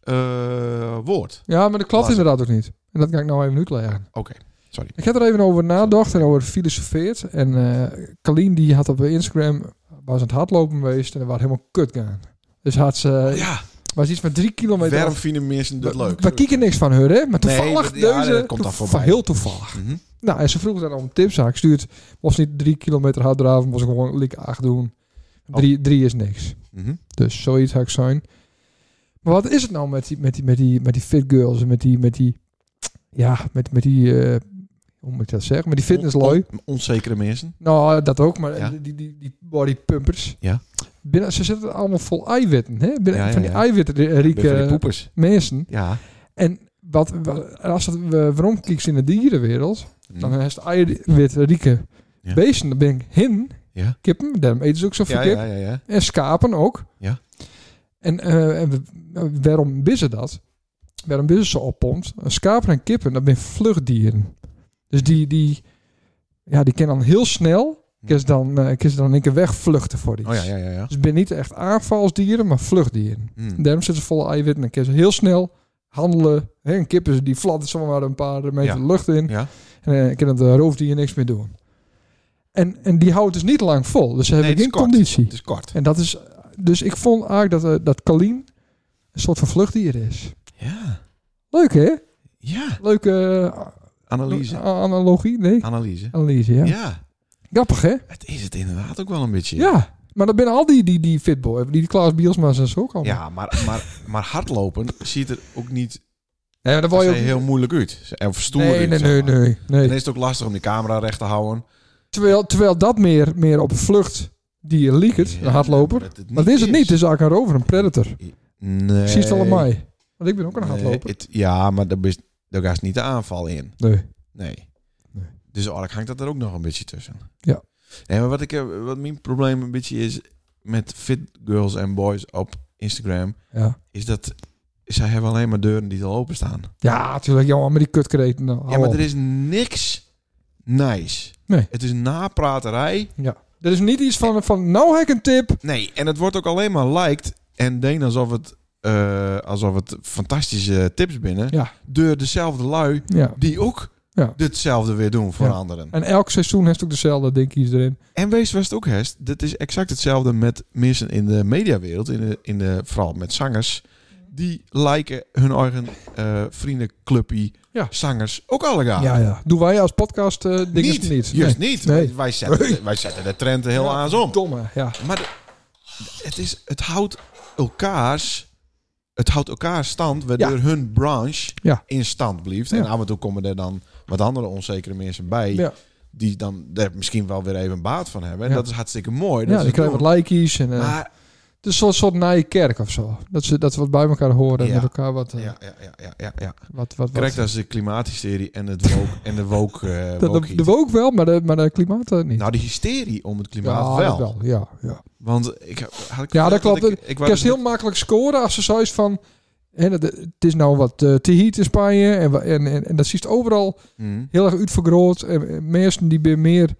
S3: eh, woord.
S2: Ja, maar dat klopt
S3: Was-
S2: inderdaad ook niet. En dat ga ik nou even uitleggen.
S3: Oké, sorry.
S2: Ik heb er even over nagedacht en over gefilosofeerd. En eh Kalien die had op Instagram, was aan het hardlopen geweest en dat was helemaal kut gaan. Dus had ze,
S3: ja,
S2: was iets van drie kilometer.
S3: waarom
S2: af.
S3: vinden mensen dat
S2: We-
S3: leuk?
S2: We kieken niks van haar, hè? Maar
S3: Nee,
S2: toevallig
S3: dat- ja,
S2: deze,
S3: dat komt dan
S2: toeval-
S3: voorbij.
S2: heel toevallig.
S3: Mhm.
S2: Nou, en ze vroeg dan om tips. Nou, ik stuurt, was niet drie kilometer hard draven, moest ik gewoon lik acht doen.
S3: Oh.
S2: Drie, drie is niks.
S3: mhm.
S2: Dus zoiets zou ik zijn. Maar wat is het nou met die, met die, met die, met die fit girls en met die, met die, ja, met, met die, eh, hoe moet ik dat zeggen? Met die fitnesslui.
S3: On- on- onzekere mensen.
S2: Nou, dat ook, maar
S3: Ja.
S2: die, die, die, die bodypumpers.
S3: Ja.
S2: Binnen, ze zitten allemaal vol eiwitten, hè? Binnen,
S3: Ja, ja,
S2: Van die
S3: ja.
S2: eiwitten, eh,
S3: Ik ben van die
S2: rieke
S3: poepers.
S2: mensen.
S3: Ja.
S2: En wat, wat- als dat, we waarom kiek ze in de dierenwereld,
S3: Mhm.
S2: dan is het eiwit eh, rieke
S3: Ja.
S2: beesten. Dan ben ik hin,
S3: Ja.
S2: kippen, daarom eten ze ook zoveel
S3: Ja,
S2: kip.
S3: ja, ja, ja.
S2: En schapen ook.
S3: Ja.
S2: En, eh, en w- waarom bissen dat? Waarom bissen ze oppompt? Schapen en kippen, dat zijn vluchtdieren. Dus die, die, ja, die kennen dan heel snel... Kun ze dan, eh, kun ze dan in één keer wegvluchten voor iets.
S3: Hm. Oh ja, ja, ja. ja.
S2: Dus het zijn niet echt aanvalsdieren, maar vluchtdieren.
S3: Mhm.
S2: Daarom zitten ze vol eiwitten en kunnen ze heel snel handelen. Hè, een kip is, die fladdert zomaar een paar meter
S3: Ja.
S2: de lucht in.
S3: Ja.
S2: En ik kan het eh, roofdier niks meer doen. En, en die houdt dus niet lang vol. Dus ze hebben
S3: het is
S2: geen
S3: kort.
S2: conditie.
S3: Het is kort.
S2: En dat is. Dus ik vond eigenlijk dat, eh, dat Kalien een soort van vluchtdier is.
S3: Ja.
S2: Leuk hè?
S3: Ja.
S2: Leuke eh,
S3: Analyse.
S2: a- analogie. Nee,
S3: Analyse.
S2: analyse. Ja.
S3: Ja.
S2: Grappig hè?
S3: Het is het inderdaad ook wel een beetje.
S2: Ja. Maar dat binnen al die, die, die fitboy, die Klaas Bielsma's en zo ook allemaal.
S3: Ja, maar, maar, maar hardlopen ziet er ook niet
S2: Nee, maar dan word
S3: per se
S2: je ook...
S3: heel moeilijk uit. Of stoer
S2: nee,
S3: uit,
S2: nee,
S3: zeg
S2: nee,
S3: maar.
S2: nee, nee.
S3: Dan is het ook lastig om die camera recht te houden.
S2: Terwijl, terwijl dat meer, meer op een vlucht die je liekt,
S3: Ja,
S2: een hardloper.
S3: het
S2: Maar dat is dus het niet. Het is eigenlijk een rover, een predator.
S3: Nee.
S2: Precies wel een mij. Want ik ben ook een
S3: Eh,
S2: hardloper.
S3: het- ja, maar daar, best- daar gaat niet de aanval in.
S2: Nee.
S3: Nee.
S2: Nee.
S3: Dus eigenlijk hangt dat er ook nog een beetje tussen.
S2: Ja.
S3: Nee, maar wat, ik, eh, wat mijn probleem een beetje is met fit girls en boys op Instagram,
S2: Ja.
S3: is dat zij hebben alleen maar deuren die al openstaan.
S2: Ja, natuurlijk. Jongen, maar die kutkreet. Nou,
S3: Ja,
S2: hou
S3: maar
S2: op.
S3: er is niks nice.
S2: Nee.
S3: Het is napraterij.
S2: Er is niet iets van, van nou heb ik een tip.
S3: Nee, en het wordt ook alleen maar liked en denk alsof het, eh, alsof het fantastische tips binnen.
S2: Ja.
S3: Door dezelfde lui
S2: Ja.
S3: die ook
S2: Ja.
S3: ditzelfde weer doen voor
S2: Ja.
S3: anderen.
S2: En elk seizoen heeft ook dezelfde dinkies erin.
S3: En wees was het ook hest. Dat is exact hetzelfde met mensen in de mediawereld. In de, in de, vooral met zangers. Die liken hun eigen eh vriendenclubje
S2: Ja.
S3: zangers ook allegaar.
S2: Ja, ja. Doen wij als podcast eh dingen
S3: Niet,
S2: niet. niet.
S3: juist niet.
S2: Nee.
S3: Wij- Wij, zetten,
S2: Nee.
S3: wij zetten de trend er heel
S2: Ja,
S3: aan om.
S2: Domme, ja.
S3: Maar de- het, is, het houdt elkaars... Het houdt elkaar stand, waardoor hun branche
S2: Ja.
S3: in stand blijft.
S2: Ja.
S3: En af en toe komen er dan wat andere onzekere mensen bij...
S2: Ja.
S3: die dan daar misschien wel weer even baat van hebben. En
S2: Ja.
S3: dat is hartstikke mooi.
S2: Ja,
S3: dat ze
S2: die
S3: het
S2: krijgen
S3: doen.
S2: wat likeys. En, eh,
S3: Maar,
S2: het is een soort naaie kerk of zo. Dat ze, dat ze wat bij elkaar horen en
S3: Ja.
S2: met elkaar wat... eh,
S3: ja, ja, ja, ja, ja, ja.
S2: wat, wat, wat
S3: Correct, dat is de klimaathysterie en, het woke, en de woke, eh,
S2: De, de,
S3: woke
S2: de woke wel, maar de, maar de klimaat eh, niet.
S3: Nou, de hysterie om het klimaat
S2: ja,
S3: wel.
S2: dat Ja, ja.
S3: Want ik heb- had ik
S2: Ja, dat
S3: verteld
S2: klopt.
S3: Ik, ik
S2: Ik
S3: was
S2: kan heel makkelijk scoren als ze zoiets van... Hè, dat, het is nou wat eh, te heat in Spanje. En, wa- en, en, en dat ziet overal
S3: Hm.
S2: heel erg uitvergroot. En, en mensen die ben meer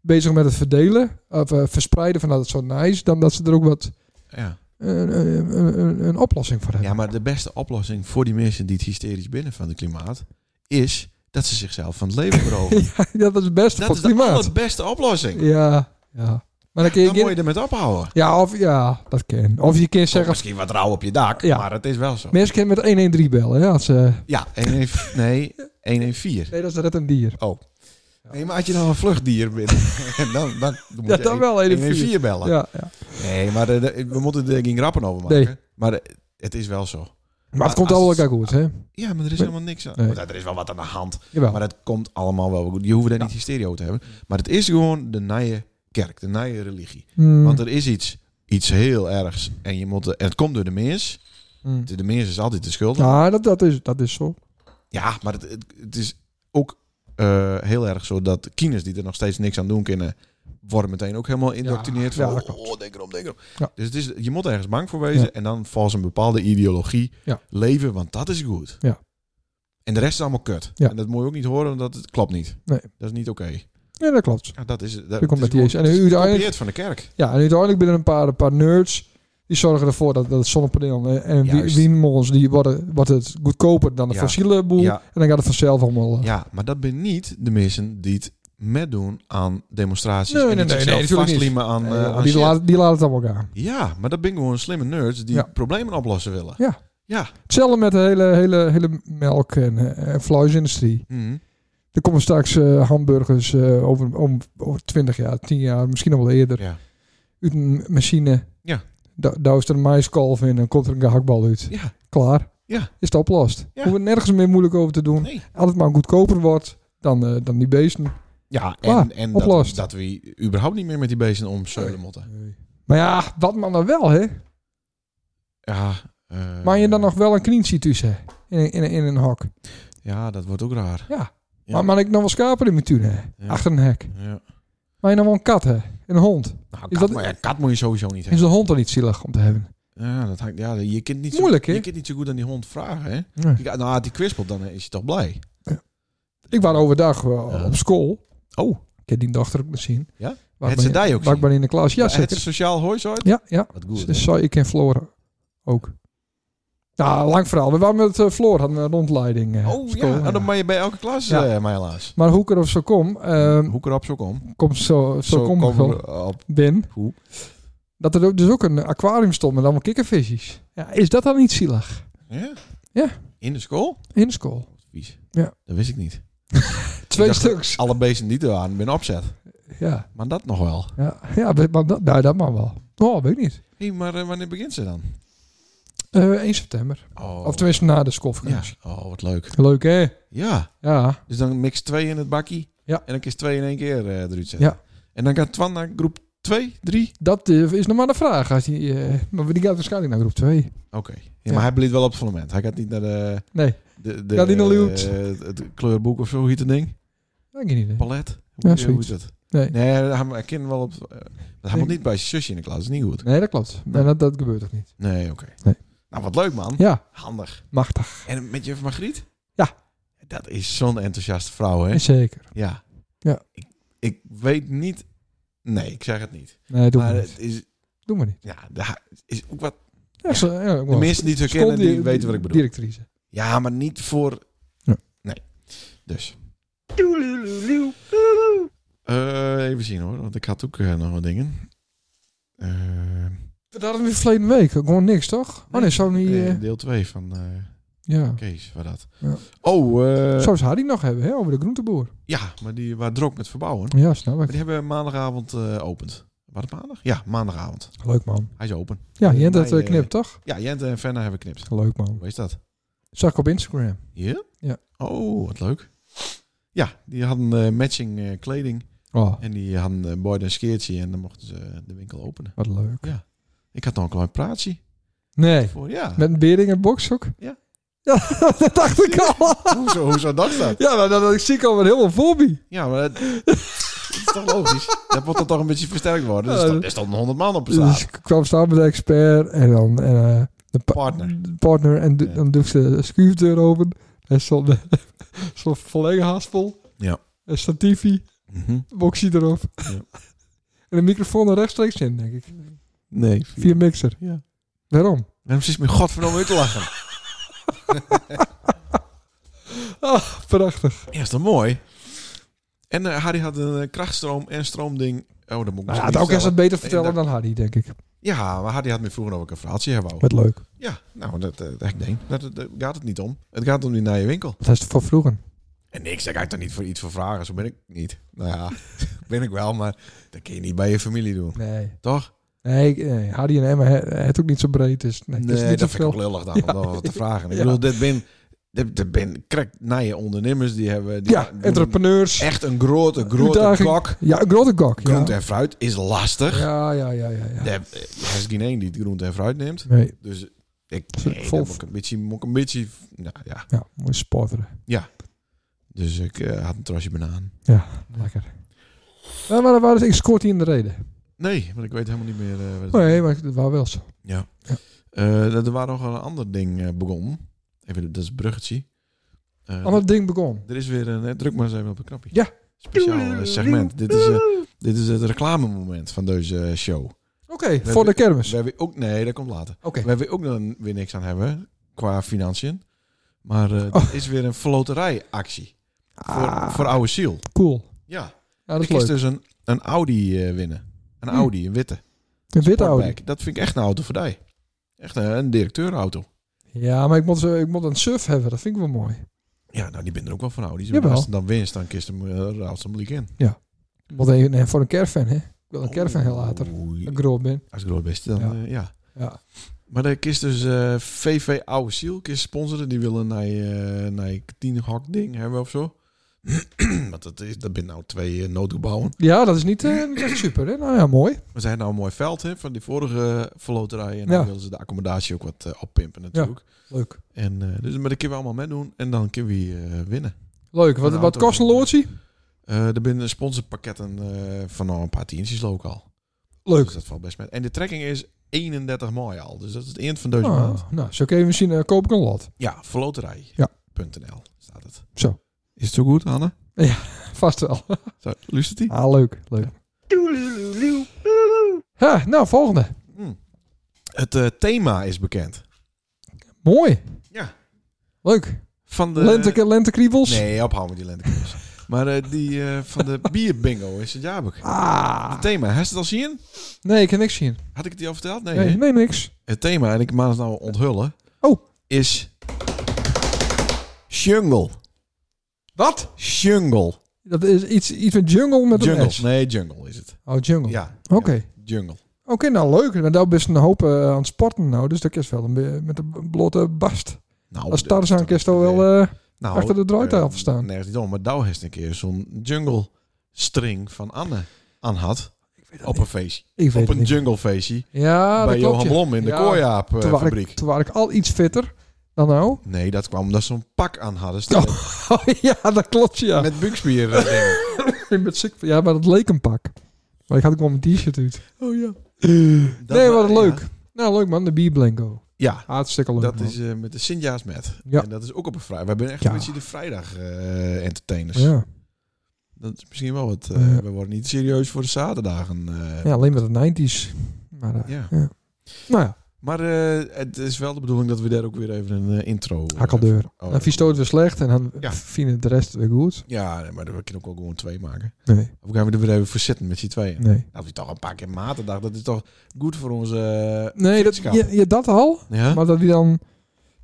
S2: bezig met het verdelen... of eh, verspreiden van dat het zo nice... dan dat ze er ook wat
S3: ja.
S2: eh, eh, eh, een, een oplossing voor hebben.
S3: ja, maar de beste oplossing voor die mensen die het hysterisch binnen van het klimaat... is dat ze zichzelf van het leven beroven.
S2: Ja, dat is het beste
S3: dat
S2: voor
S3: is
S2: het
S3: de
S2: klimaat.
S3: allerbeste oplossing.
S2: Ja, ja. Maar dan kun je...
S3: Dan moet je
S2: geen-
S3: ermee ophouden.
S2: ja, of, ja, dat kan. Of je kunt
S3: Zeg
S2: zeggen...
S3: misschien wat rauw op je dak,
S2: Ja.
S3: maar het is wel zo.
S2: Mensen kunnen met 113 bellen. Ja, als, eh,
S3: Ja, 114. Nee, 114.
S2: nee, dat is red een dier.
S3: Oh. Nee, maar had je dan een vluchtdier binnen, en dan, dan moet
S2: Ja,
S3: je
S2: dan
S3: een-
S2: wel 114.
S3: 114 bellen.
S2: Ja, ja.
S3: Nee, maar eh, de- we moeten er geen grappen over maken.
S2: Nee.
S3: Maar eh, het is wel zo.
S2: Maar het komt
S3: als-
S2: allemaal elkaar goed, hè?
S3: Ja, maar er is
S2: Nee.
S3: helemaal niks aan.
S2: Nee.
S3: Want Er is wel wat aan de hand.
S2: Jawel.
S3: Maar dat komt allemaal wel goed. Je hoeft daar niet hysterie over te hebben. Maar het is gewoon de nije kerk, de nije religie.
S2: Hmm,
S3: Want er is iets, iets heel ergs. En, je moet, er- en het komt door de mens.
S2: hmm.
S3: De de mens is altijd de schuldige.
S2: Ja, dat, dat, is, dat is zo.
S3: Ja, maar het, het, het is ook eh, heel erg zo dat kinders die er nog steeds niks aan doen kunnen, worden meteen ook helemaal indoctrineerd.
S2: ja,
S3: van,
S2: dat
S3: oh, oh, denk erom, denk erom.
S2: Ja.
S3: Dus het is, je moet ergens bang voor wezen
S2: Ja.
S3: en dan volgens een bepaalde ideologie
S2: Ja.
S3: leven, want dat is goed.
S2: Ja.
S3: En de rest is allemaal kut.
S2: Ja.
S3: En dat moet je ook niet horen, want dat het klopt niet.
S2: Nee.
S3: Dat is niet oké.
S2: Ja, dat klopt.
S3: Ja, dat is, dat,
S2: komt
S3: het
S2: met
S3: is
S2: die
S3: gewoon-
S2: eens. En
S3: het is
S2: uiteindelijk-
S3: gekopieerd van de kerk.
S2: Ja, en uiteindelijk binnen een paar, een paar nerds... die zorgen ervoor dat, dat het zonnepaneel en- en wi-
S3: Juist.
S2: windmolens... die worden wordt het goedkoper dan de
S3: Ja.
S2: fossiele boel.
S3: Ja.
S2: En dan gaat het vanzelf allemaal... eh,
S3: Ja, maar dat ben niet de mensen die het metdoen aan demonstraties
S2: Nee,
S3: en
S2: nee,
S3: die
S2: nee,
S3: zichzelf
S2: nee, natuurlijk niet.
S3: vastliemen aan,
S2: eh,
S3: eh, aan
S2: die,
S3: shit.
S2: laat, die laat het allemaal gaan.
S3: Ja, maar dat ben gewoon slimme nerds die
S2: Ja.
S3: problemen oplossen willen.
S2: Ja.
S3: Ja.
S2: Hetzelfde met de hele, hele, hele melk- en, eh, en vleesindustrie.
S3: Mhm.
S2: Er komen straks eh, hamburgers eh, over, om, over 20 jaar, 10 jaar, misschien nog wel eerder...
S3: ja.
S2: uit een machine.
S3: Ja.
S2: Da- Daar is er een maiskolf in en komt er een gehaktbal uit.
S3: Ja.
S2: Klaar.
S3: Ja.
S2: Is het opgelost.
S3: Ja.
S2: Hoeven we nergens meer moeilijk over te doen.
S3: Nee.
S2: Als het maar goedkoper wordt dan, eh, dan die beesten.
S3: Ja,
S2: Klaar,
S3: en, en dat,
S2: oplost.
S3: dat we überhaupt niet meer met die beesten om zullen motten.
S2: Maar ja, wat man dan wel, hè?
S3: Ja, eh,
S2: Maar je dan nog wel een knientje tussen in, een- in, een- in een hok.
S3: Ja, dat wordt ook raar. Ja.
S2: Maar, maar ik nog wel schapen in mijn tuin, hè?
S3: Ja.
S2: Achter een hek.
S3: Ja.
S2: Maar je dan wel een kat, hè? En een hond.
S3: Nou,
S2: Is
S3: kat,
S2: dat-
S3: maar ja, kat moet je sowieso niet
S2: Is
S3: hebben.
S2: de hond dan niet zielig om te hebben?
S3: Ja, dat hangt, ja, je kunt niet
S2: Moeilijk,
S3: zo,
S2: hè?
S3: Je kunt niet zo goed aan die hond vragen, hè?
S2: Nee.
S3: Je, gaat- nou, die kwispelt, dan is je toch blij.
S2: Ik was overdag wel
S3: Ja.
S2: op school.
S3: Oh.
S2: Ik heb die dochter ook nog zien.
S3: Ja?
S2: Waar
S3: Het
S2: ik
S3: ze
S2: ben-
S3: daar ook
S2: waar ik
S3: zien?
S2: ben in de klas. Ja,
S3: het
S2: zeker.
S3: sociaal hooizoid?
S2: Ja, ja.
S3: Wat goed,
S2: Dus
S3: hè?
S2: Zo, ik en Floor ook. Nou, lang verhaal. We waren met eh, Floor, hadden een rondleiding. eh, op
S3: Oh
S2: school,
S3: ja, nou,
S2: ja.
S3: dan ben je bij elke klas,
S2: Ja.
S3: eh, maar helaas.
S2: Maar hoe ik er of zo kom, ehm,
S3: Hoe krap zo kom.
S2: kom zo, zo, kom,
S3: komen
S2: zo
S3: we op.
S2: ben.
S3: Hoe?
S2: Dat er ook- dus ook een aquarium stond met allemaal kikkervisjes. Ja, is dat dan niet zielig?
S3: Ja?
S2: Ja.
S3: In de school?
S2: In school.
S3: Vies.
S2: Ja.
S3: Dat wist ik niet.
S2: Twee
S3: dacht-
S2: stuks.
S3: Alle beesten die er waren, ben opzet.
S2: Ja,
S3: Maar dat nog wel.
S2: ja, ja maar dat, nou, dat mag wel. Oh, weet ik niet.
S3: Hé, maar eh, wanneer begint ze dan?
S2: Eh 1 september.
S3: Oh,
S2: Of tenminste na de
S3: ja.
S2: schoolvakantie.
S3: oh wat leuk.
S2: Leuk, hè?
S3: Ja,
S2: Ja.
S3: dus dan mix twee in het bakkie.
S2: Ja.
S3: En dan kun je twee in één keer eh eruit zetten.
S2: Ja.
S3: En dan gaat Twan naar groep Twee? Drie?
S2: Dat eh, is nog maar de vraag. Als die, eh, maar die gaat waarschijnlijk naar groep 2.
S3: Oké. Ja,
S2: Ja.
S3: maar hij bleef wel op het fundament. Hij gaat niet naar de...
S2: Nee,
S3: de, de
S2: Gaat niet naar Leeuwarden.
S3: eh, het kleurboek of zo, hoe heet het ding?
S2: dat geen idee.
S3: Palet?
S2: Ja,
S3: Hoe, hoe
S2: zoiets.
S3: heet het?
S2: Nee.
S3: Nee, hij, hij kan wel op... eh, hij
S2: Nee.
S3: moet niet bij zijn zusje in de klas, dat is niet goed.
S2: Nee, dat klopt.
S3: Nee.
S2: En dat, dat gebeurt toch niet?
S3: Nee, oké.
S2: Nee.
S3: Nou, wat leuk man.
S2: Ja,
S3: Handig.
S2: machtig.
S3: En met juf Margriet?
S2: Ja.
S3: Dat is zo'n enthousiaste vrouw, hè?
S2: Zeker.
S3: Ja.
S2: Ja.
S3: Ik, ik weet niet... Nee, ik zeg het niet.
S2: Nee, doe maar,
S3: maar
S2: niet.
S3: het is...
S2: Doe maar niet.
S3: Ja, daar is ook wat...
S2: Ja, zo- ja, ik
S3: De
S2: wou-
S3: mensen die het herkennen, die weten wat ik bedoel.
S2: Directrice.
S3: Ja, maar niet voor...
S2: Ja.
S3: Nee. Dus. Eh, even zien hoor, want ik had ook eh, nog wat dingen. Eh,
S2: Dat hadden we verleden week. Gewoon niks, toch? Oh nee, zo niet... eh,
S3: eh, deel 2 van eh,
S2: ja.
S3: Kees, waar dat.
S2: Ja.
S3: Oh, eh,
S2: Zou ze Harry nog hebben, hè? Over de groenteboer.
S3: ja, maar die waren druk met verbouwen. Maar
S2: Ja, snap ik.
S3: die hebben maandagavond eh opend. Was het maandag? Ja, maandagavond.
S2: Leuk, man.
S3: Hij is open.
S2: Ja,
S3: Eh,
S2: je hebt dat
S3: mij,
S2: eh, knipt, toch?
S3: Ja, Jente en Fenna hebben knipt.
S2: Leuk, man.
S3: Hoe is dat?
S2: Zag ik op Instagram.
S3: Ja?
S2: Ja.
S3: Oh, wat leuk. Ja, die hadden eh, matching eh, kleding.
S2: Oh,
S3: En die hadden een bord en skeertje en dan mochten ze eh, de winkel openen.
S2: wat leuk.
S3: Ik had nog een klein praatje.
S2: Nee.
S3: Voor, ja.
S2: Met een bering en bokshoek?
S3: Ja.
S2: Ja, dat dacht ik al.
S3: Hoezo, hoezo dacht dat?
S2: Ja, maar dat, dat- ik zie ik al een hele fobie.
S3: Ja, maar dat, dat is toch logisch? Dat moet dan toch een beetje versterkt worden. Dus
S2: Ja,
S3: dat is dan 100 man op de
S2: Dus
S3: straat.
S2: ik kwam staan met de expert en dan en, eh, de pa-
S3: Partner.
S2: de partner en do-
S3: Ja.
S2: dan doe ik de schuifdeur open. En stond zo'n verlegen haspel.
S3: Ja.
S2: Een statiefie,
S3: Mhm.
S2: boxie erop. en een microfoon er rechtstreeks in, denk ik.
S3: Nee.
S2: Via een mixer.
S3: Ja.
S2: Waarom?
S3: Waarom zit mijn godverdomme uit te lachen?
S2: Prachtig.
S3: Ja, is toch mooi? En eh, Harry had een eh, krachtstroom en stroomding. Oh, dat moet ik
S2: Nou,
S3: misschien
S2: had
S3: niet
S2: ook eens wat
S3: vertellen.
S2: beter vertellen
S3: Nee,
S2: dan Harry, denk ik.
S3: Ja, maar Harry had me vroeger ook een verhaaltje hebben.
S2: Wat leuk.
S3: Ja, nou, dat, eh, dat ik denk. Dat, dat- daar gaat het niet om. Het gaat om die naar je winkel.
S2: Dat is het voor vroeger.
S3: En niks, daar ga ik toch niet voor iets voor vragen. Zo ben ik niet. Nou ja, ben ik wel, maar dat kun je niet bij je familie doen.
S2: Nee.
S3: Toch?
S2: Nee, ik- nee, Harry en Emma, he- het ook niet zo breed is. Nee, het is niet
S3: dat
S2: zo
S3: vind ik ook
S2: veel.
S3: lullig dan,
S2: Ja.
S3: om dan wat te vragen. Ik
S2: Ja.
S3: bedoel, dit ben... Dit, dit ben krek nije ondernemers, die hebben... Die
S2: Ja,
S3: doen
S2: entrepreneurs.
S3: Echt een grote, grote
S2: Uitdaging.
S3: kok.
S2: Ja, een grote gok.
S3: Groente
S2: Ja.
S3: en fruit is lastig.
S2: ja, ja, ja, ja. ja.
S3: Er eh, er is geen één die het groente en fruit neemt.
S2: Nee,
S3: Dus ik...
S2: Vol-
S3: Nee, dat moet ik een beetje... Moet ik een beetje nou ja.
S2: ja, moet je sporteren.
S3: Dus ik eh, had een trosje banaan.
S2: Ja, lekker. Ja, maar dat waren, ik scoort hier in de reden.
S3: Nee, want ik weet helemaal niet meer... eh, wat het-
S2: Nee, maar dat was wel zo.
S3: Ja.
S2: Ja.
S3: Eh, er er waren nog een ander ding eh, begonnen. Even, dat is een bruggetje. Eh,
S2: Ander ding begon.
S3: Er is weer een... eh, druk maar eens even op een knopje.
S2: Ja.
S3: Speciaal eh, segment. Dit is, eh, dit is het reclamemoment van deze eh, show.
S2: Oké, voor de kermis.
S3: We
S2: Oké.
S3: hebben ook... Nee, dat komt later. We hebben ook dan weer niks aan hebben qua financiën. Maar eh er
S2: Oh.
S3: is weer een verloterijactie. Voor,
S2: Ah,
S3: voor oude ziel.
S2: cool.
S3: Ja.
S2: Ja, dat
S3: Ik
S2: is
S3: is
S2: leuk.
S3: dus een, een Audi eh, winnen. Een
S2: Hm.
S3: Audi, een witte.
S2: Een witte Audi.
S3: Sportback. Dat vind ik echt een auto voor die. Echt een, een directeurauto.
S2: Ja, maar ik moet, zo- ik moet een surf hebben. Dat vind ik wel mooi.
S3: Ja, nou, die ben er ook wel van oud. Die zijn
S2: Jawel.
S3: als het dan winst, dan kist hem uh, raalt ze hem liek in.
S2: Ik moet even, nee, voor een caravan, hè. Ik wil een caravan heel later.
S3: Oei,
S2: Dat ik groot ben.
S3: Als ik rood best, dan
S2: Ja.
S3: ja. ja.
S2: Ja.
S3: Maar de kist dus eh, VV Oude Ziel, kist sponsoren. Die willen naar je, naar je tienhok ding hebben of zo. Want dat, is, dat zijn nou twee eh, noodgebouwen.
S2: ja, dat is niet eh, niet echt super, hè. Nou ja, mooi.
S3: Maar zij hebben nou een mooi veld hè, van die vorige eh, verloterij. En
S2: Ja.
S3: dan willen ze de accommodatie ook wat eh, oppimpen natuurlijk.
S2: Leuk.
S3: En, eh, dus, maar dat kunnen we allemaal meedoen. En dan kunnen we eh, winnen.
S2: Leuk. Wat,
S3: Een
S2: wat
S3: auto.
S2: kost een loodsie?
S3: Eh, er binnen sponsorpakketten eh, van nou een paar tientjes lokaal.
S2: Leuk.
S3: Dus dat valt best mee. En de trekking is 31 mei al. Dus dat is het eind van deze maand.
S2: Ah, nou, zo kun je misschien eh, koop ik een lot.
S3: Ja,
S2: Ja.
S3: verloterij.nl staat het.
S2: Zo.
S3: Is het zo goed, Anne?
S2: Vast wel.
S3: Zo, luistert ie?
S2: Ah, leuk. Leuk. Ha, nou, volgende.
S3: Hm. Het eh, thema is bekend.
S2: Mooi.
S3: Ja.
S2: Leuk.
S3: Van de...
S2: Lente, lentekriebels.
S3: eh, Nee, ophouden met die lentekriebels. maar eh, die eh, van de bierbingo is het jaarboek.
S2: Ah.
S3: Het thema, heb je het al zien?
S2: Nee, ik kan niks zien.
S3: Had ik het die al verteld? Nee.
S2: Nee,
S3: hè?
S2: nee, niks.
S3: Het thema, en ik mag het nou onthullen,
S2: Oh.
S3: is... Jungle.
S2: Wat?
S3: Jungle.
S2: Dat is iets, iets met jungle met een
S3: Jungle.
S2: S.
S3: Nee, jungle is het.
S2: Oh, jungle.
S3: Ja.
S2: Oké.
S3: Ja, Jungle.
S2: Oké, nou leuk. En daar best een hoop eh, aan het sporten nou. Dus dat is wel een be- met een blote bast.
S3: Nou,
S2: Als Tarzan kerst al wel... eh,
S3: nou,
S2: achter de draaitafel
S3: eh,
S2: staan.
S3: Nergens niet om, maar Douw heeft een keer zo'n jungle string van Anne aan had.
S2: ik
S3: Op een feestje.
S2: Ik weet het
S3: Op een
S2: niet.
S3: junglefeestje.
S2: Ja, dat
S3: bij
S2: klopt,
S3: Johan
S2: ja.
S3: Blom in de
S2: Ja,
S3: kooiaap eh,
S2: Toen was
S3: fabriek.
S2: ik, toen was ik al iets fitter dan nou.
S3: Nee, dat kwam omdat ze een pak aan hadden staan.
S2: Oh ja, dat klopt, ja.
S3: Met buikspier eh, dingen.
S2: Met, ziek- ja, maar dat leek een pak. Maar ik had ook wel mijn t-shirt uit.
S3: Oh ja. Dat
S2: nee,
S3: wa-
S2: wat
S3: ja.
S2: leuk. Nou, leuk man, de bierblanco.
S3: Ja,
S2: Hartstikke leuk.
S3: dat
S2: man.
S3: is eh, met de Sint-Jaars met.
S2: Ja.
S3: En dat is ook op een vrijdag. Wij zijn echt
S2: Ja.
S3: een beetje de vrijdag eh, entertainers.
S2: ja.
S3: Dat is misschien wel wat. eh,
S2: Ja.
S3: We worden niet serieus voor de zaterdagen. eh.
S2: ja, alleen met de 90s. Maar, eh,
S3: Ja.
S2: Nou ja,
S3: Maar eh, het is wel de bedoeling dat we daar ook weer even een eh, intro... eh,
S2: hakkeldeur.
S3: voor- oh,
S2: dan vies het weer slecht en dan
S3: Ja.
S2: vinden de rest weer goed.
S3: Ja, nee, maar we kunnen ook wel gewoon twee maken.
S2: Nee,
S3: Of gaan we er weer even voor zitten met z'n tweeën?
S2: nee.
S3: Dat is toch een paar keer matendag. Dat is toch goed voor onze... eh,
S2: Nee, dat,
S3: vriendschap?
S2: je, je dat al.
S3: Ja?
S2: Maar dat die dan...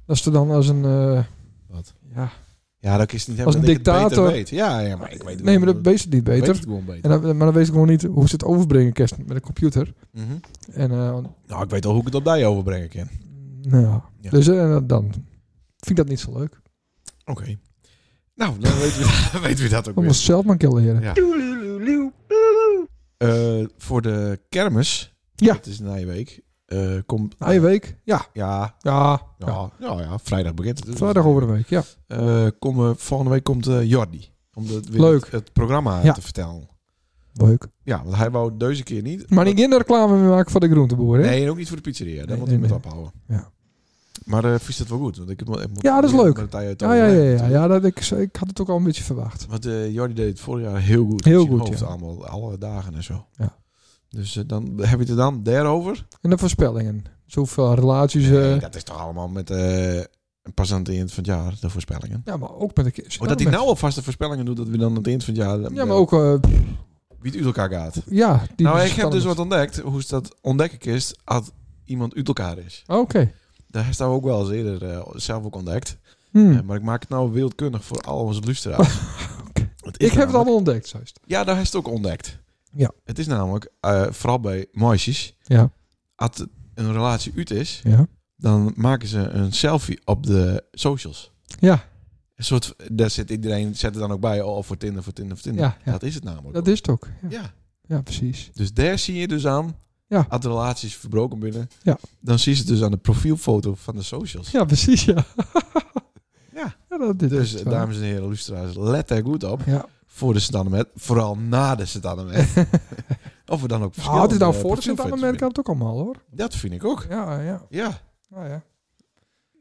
S2: Als er dan als een... eh,
S3: Wat?
S2: Ja.
S3: ja, dat is niet
S2: Als
S3: hebben
S2: een
S3: dat ik het beter
S2: dictator.
S3: weet. Ja, ja, maar ik weet het
S2: nee,
S3: wel.
S2: maar dat weet het niet
S3: Ik weet
S2: beter.
S3: het gewoon
S2: En
S3: beter.
S2: dan, maar dan weet ik gewoon niet hoe ze het overbrengen kerst met een computer.
S3: Mhm.
S2: En eh,
S3: Nou, ik weet al hoe ik het op die overbrengen kan.
S2: nou ja.
S3: Ja.
S2: Dus eh, dan vind ik dat niet zo leuk.
S3: Oké. Nou, dan weten we, weten we dat ook
S2: Om
S3: weer.
S2: het zelf maar een keer leren.
S3: Ja. Eh, voor de kermis,
S2: Ja.
S3: het is na je week, eh, komt...
S2: Na je week? Ja.
S3: Ja,
S2: Ja. ja.
S3: ja, ja, ja, vrijdag begint het. dus.
S2: Vrijdag over de week, ja.
S3: Eh, kom, eh, volgende week komt eh, Jordi. Om de, weer
S2: Leuk.
S3: Het, het programma
S2: Ja.
S3: te vertellen.
S2: Leuk.
S3: Ja, want hij wou deze keer niet.
S2: Maar niet kinderen reclame meer maken voor de groenteboer, hè?
S3: Nee, en ook niet voor de pizzeria. Daar
S2: Nee,
S3: moet
S2: nee,
S3: hij met
S2: nee.
S3: ophouden.
S2: Ja.
S3: Maar eh vies dat wel goed? Want ik moet, ik moet
S2: Ja, dat is leuk.
S3: met hij het
S2: Ja, ja, ja,
S3: overleggen
S2: ja,
S3: natuurlijk.
S2: ja dat, ik, ik had het ook al een beetje verwacht.
S3: Want eh Jordi deed het vorig jaar heel goed.
S2: Heel
S3: Met zijn
S2: goed,
S3: hoofd
S2: ja.
S3: allemaal, alle dagen en zo.
S2: Ja.
S3: Dus eh, dan heb je het er dan daarover.
S2: En de voorspellingen. Zoveel relaties. eh,
S3: Nee, dat is toch allemaal met eh, een pas aan het eind van het jaar, de voorspellingen.
S2: Ja, maar ook met de kerst.
S3: Oh, dat hij nou alvast de voorspellingen doet, dat we dan aan het eind van het jaar... eh,
S2: Ja, maar ook... eh, pff,
S3: Wie het uit elkaar gaat.
S2: ja, die
S3: nou, ik heb
S2: verstanden-
S3: dus wat ontdekt. Hoe is dat ontdekken is als iemand uit elkaar is.
S2: Oké.
S3: Daar staan we ook wel eens eerder eh, zelf ook ontdekt.
S2: Hmm.
S3: Eh, maar ik maak het nou wereldkundig voor al onze luisteraars.
S2: Oké.
S3: Want
S2: Ik heb het allemaal ontdekt, zoist.
S3: Ja, daar heeft het ook ontdekt.
S2: Ja.
S3: Het is namelijk, eh, vooral bij meisjes,
S2: Ja.
S3: als het een relatie uit is,
S2: Ja.
S3: dan maken ze een selfie op de socials.
S2: Ja.
S3: Een soort, daar zit iedereen, zet er dan ook bij, oh, voor Tinder, voor Tinder, voor Tinder.
S2: Ja, ja.
S3: Dat is het namelijk.
S2: Dat
S3: ook.
S2: is het ook. Ja,
S3: Ja.
S2: ja precies.
S3: Dus daar zie je dus aan,
S2: Ja.
S3: als de relaties verbroken binnen,
S2: Ja.
S3: dan zie je het dus aan de profielfoto van de socials.
S2: Ja, precies, ja.
S3: Ja.
S2: dat, dit
S3: Dus
S2: is het
S3: eh,
S2: wel.
S3: dames en heren, luisteraars, let daar goed op.
S2: Ja.
S3: Voor de Sint-Annemet, vooral na de Sint-Annemet. of we dan ook
S2: Ah, het is nou
S3: verschillende eh,
S2: voor de sint
S3: profielfoto's
S2: Amerika het ook allemaal, hoor.
S3: vinden. Dat vind ik ook.
S2: Ja, ja.
S3: Ja.
S2: Nou ja.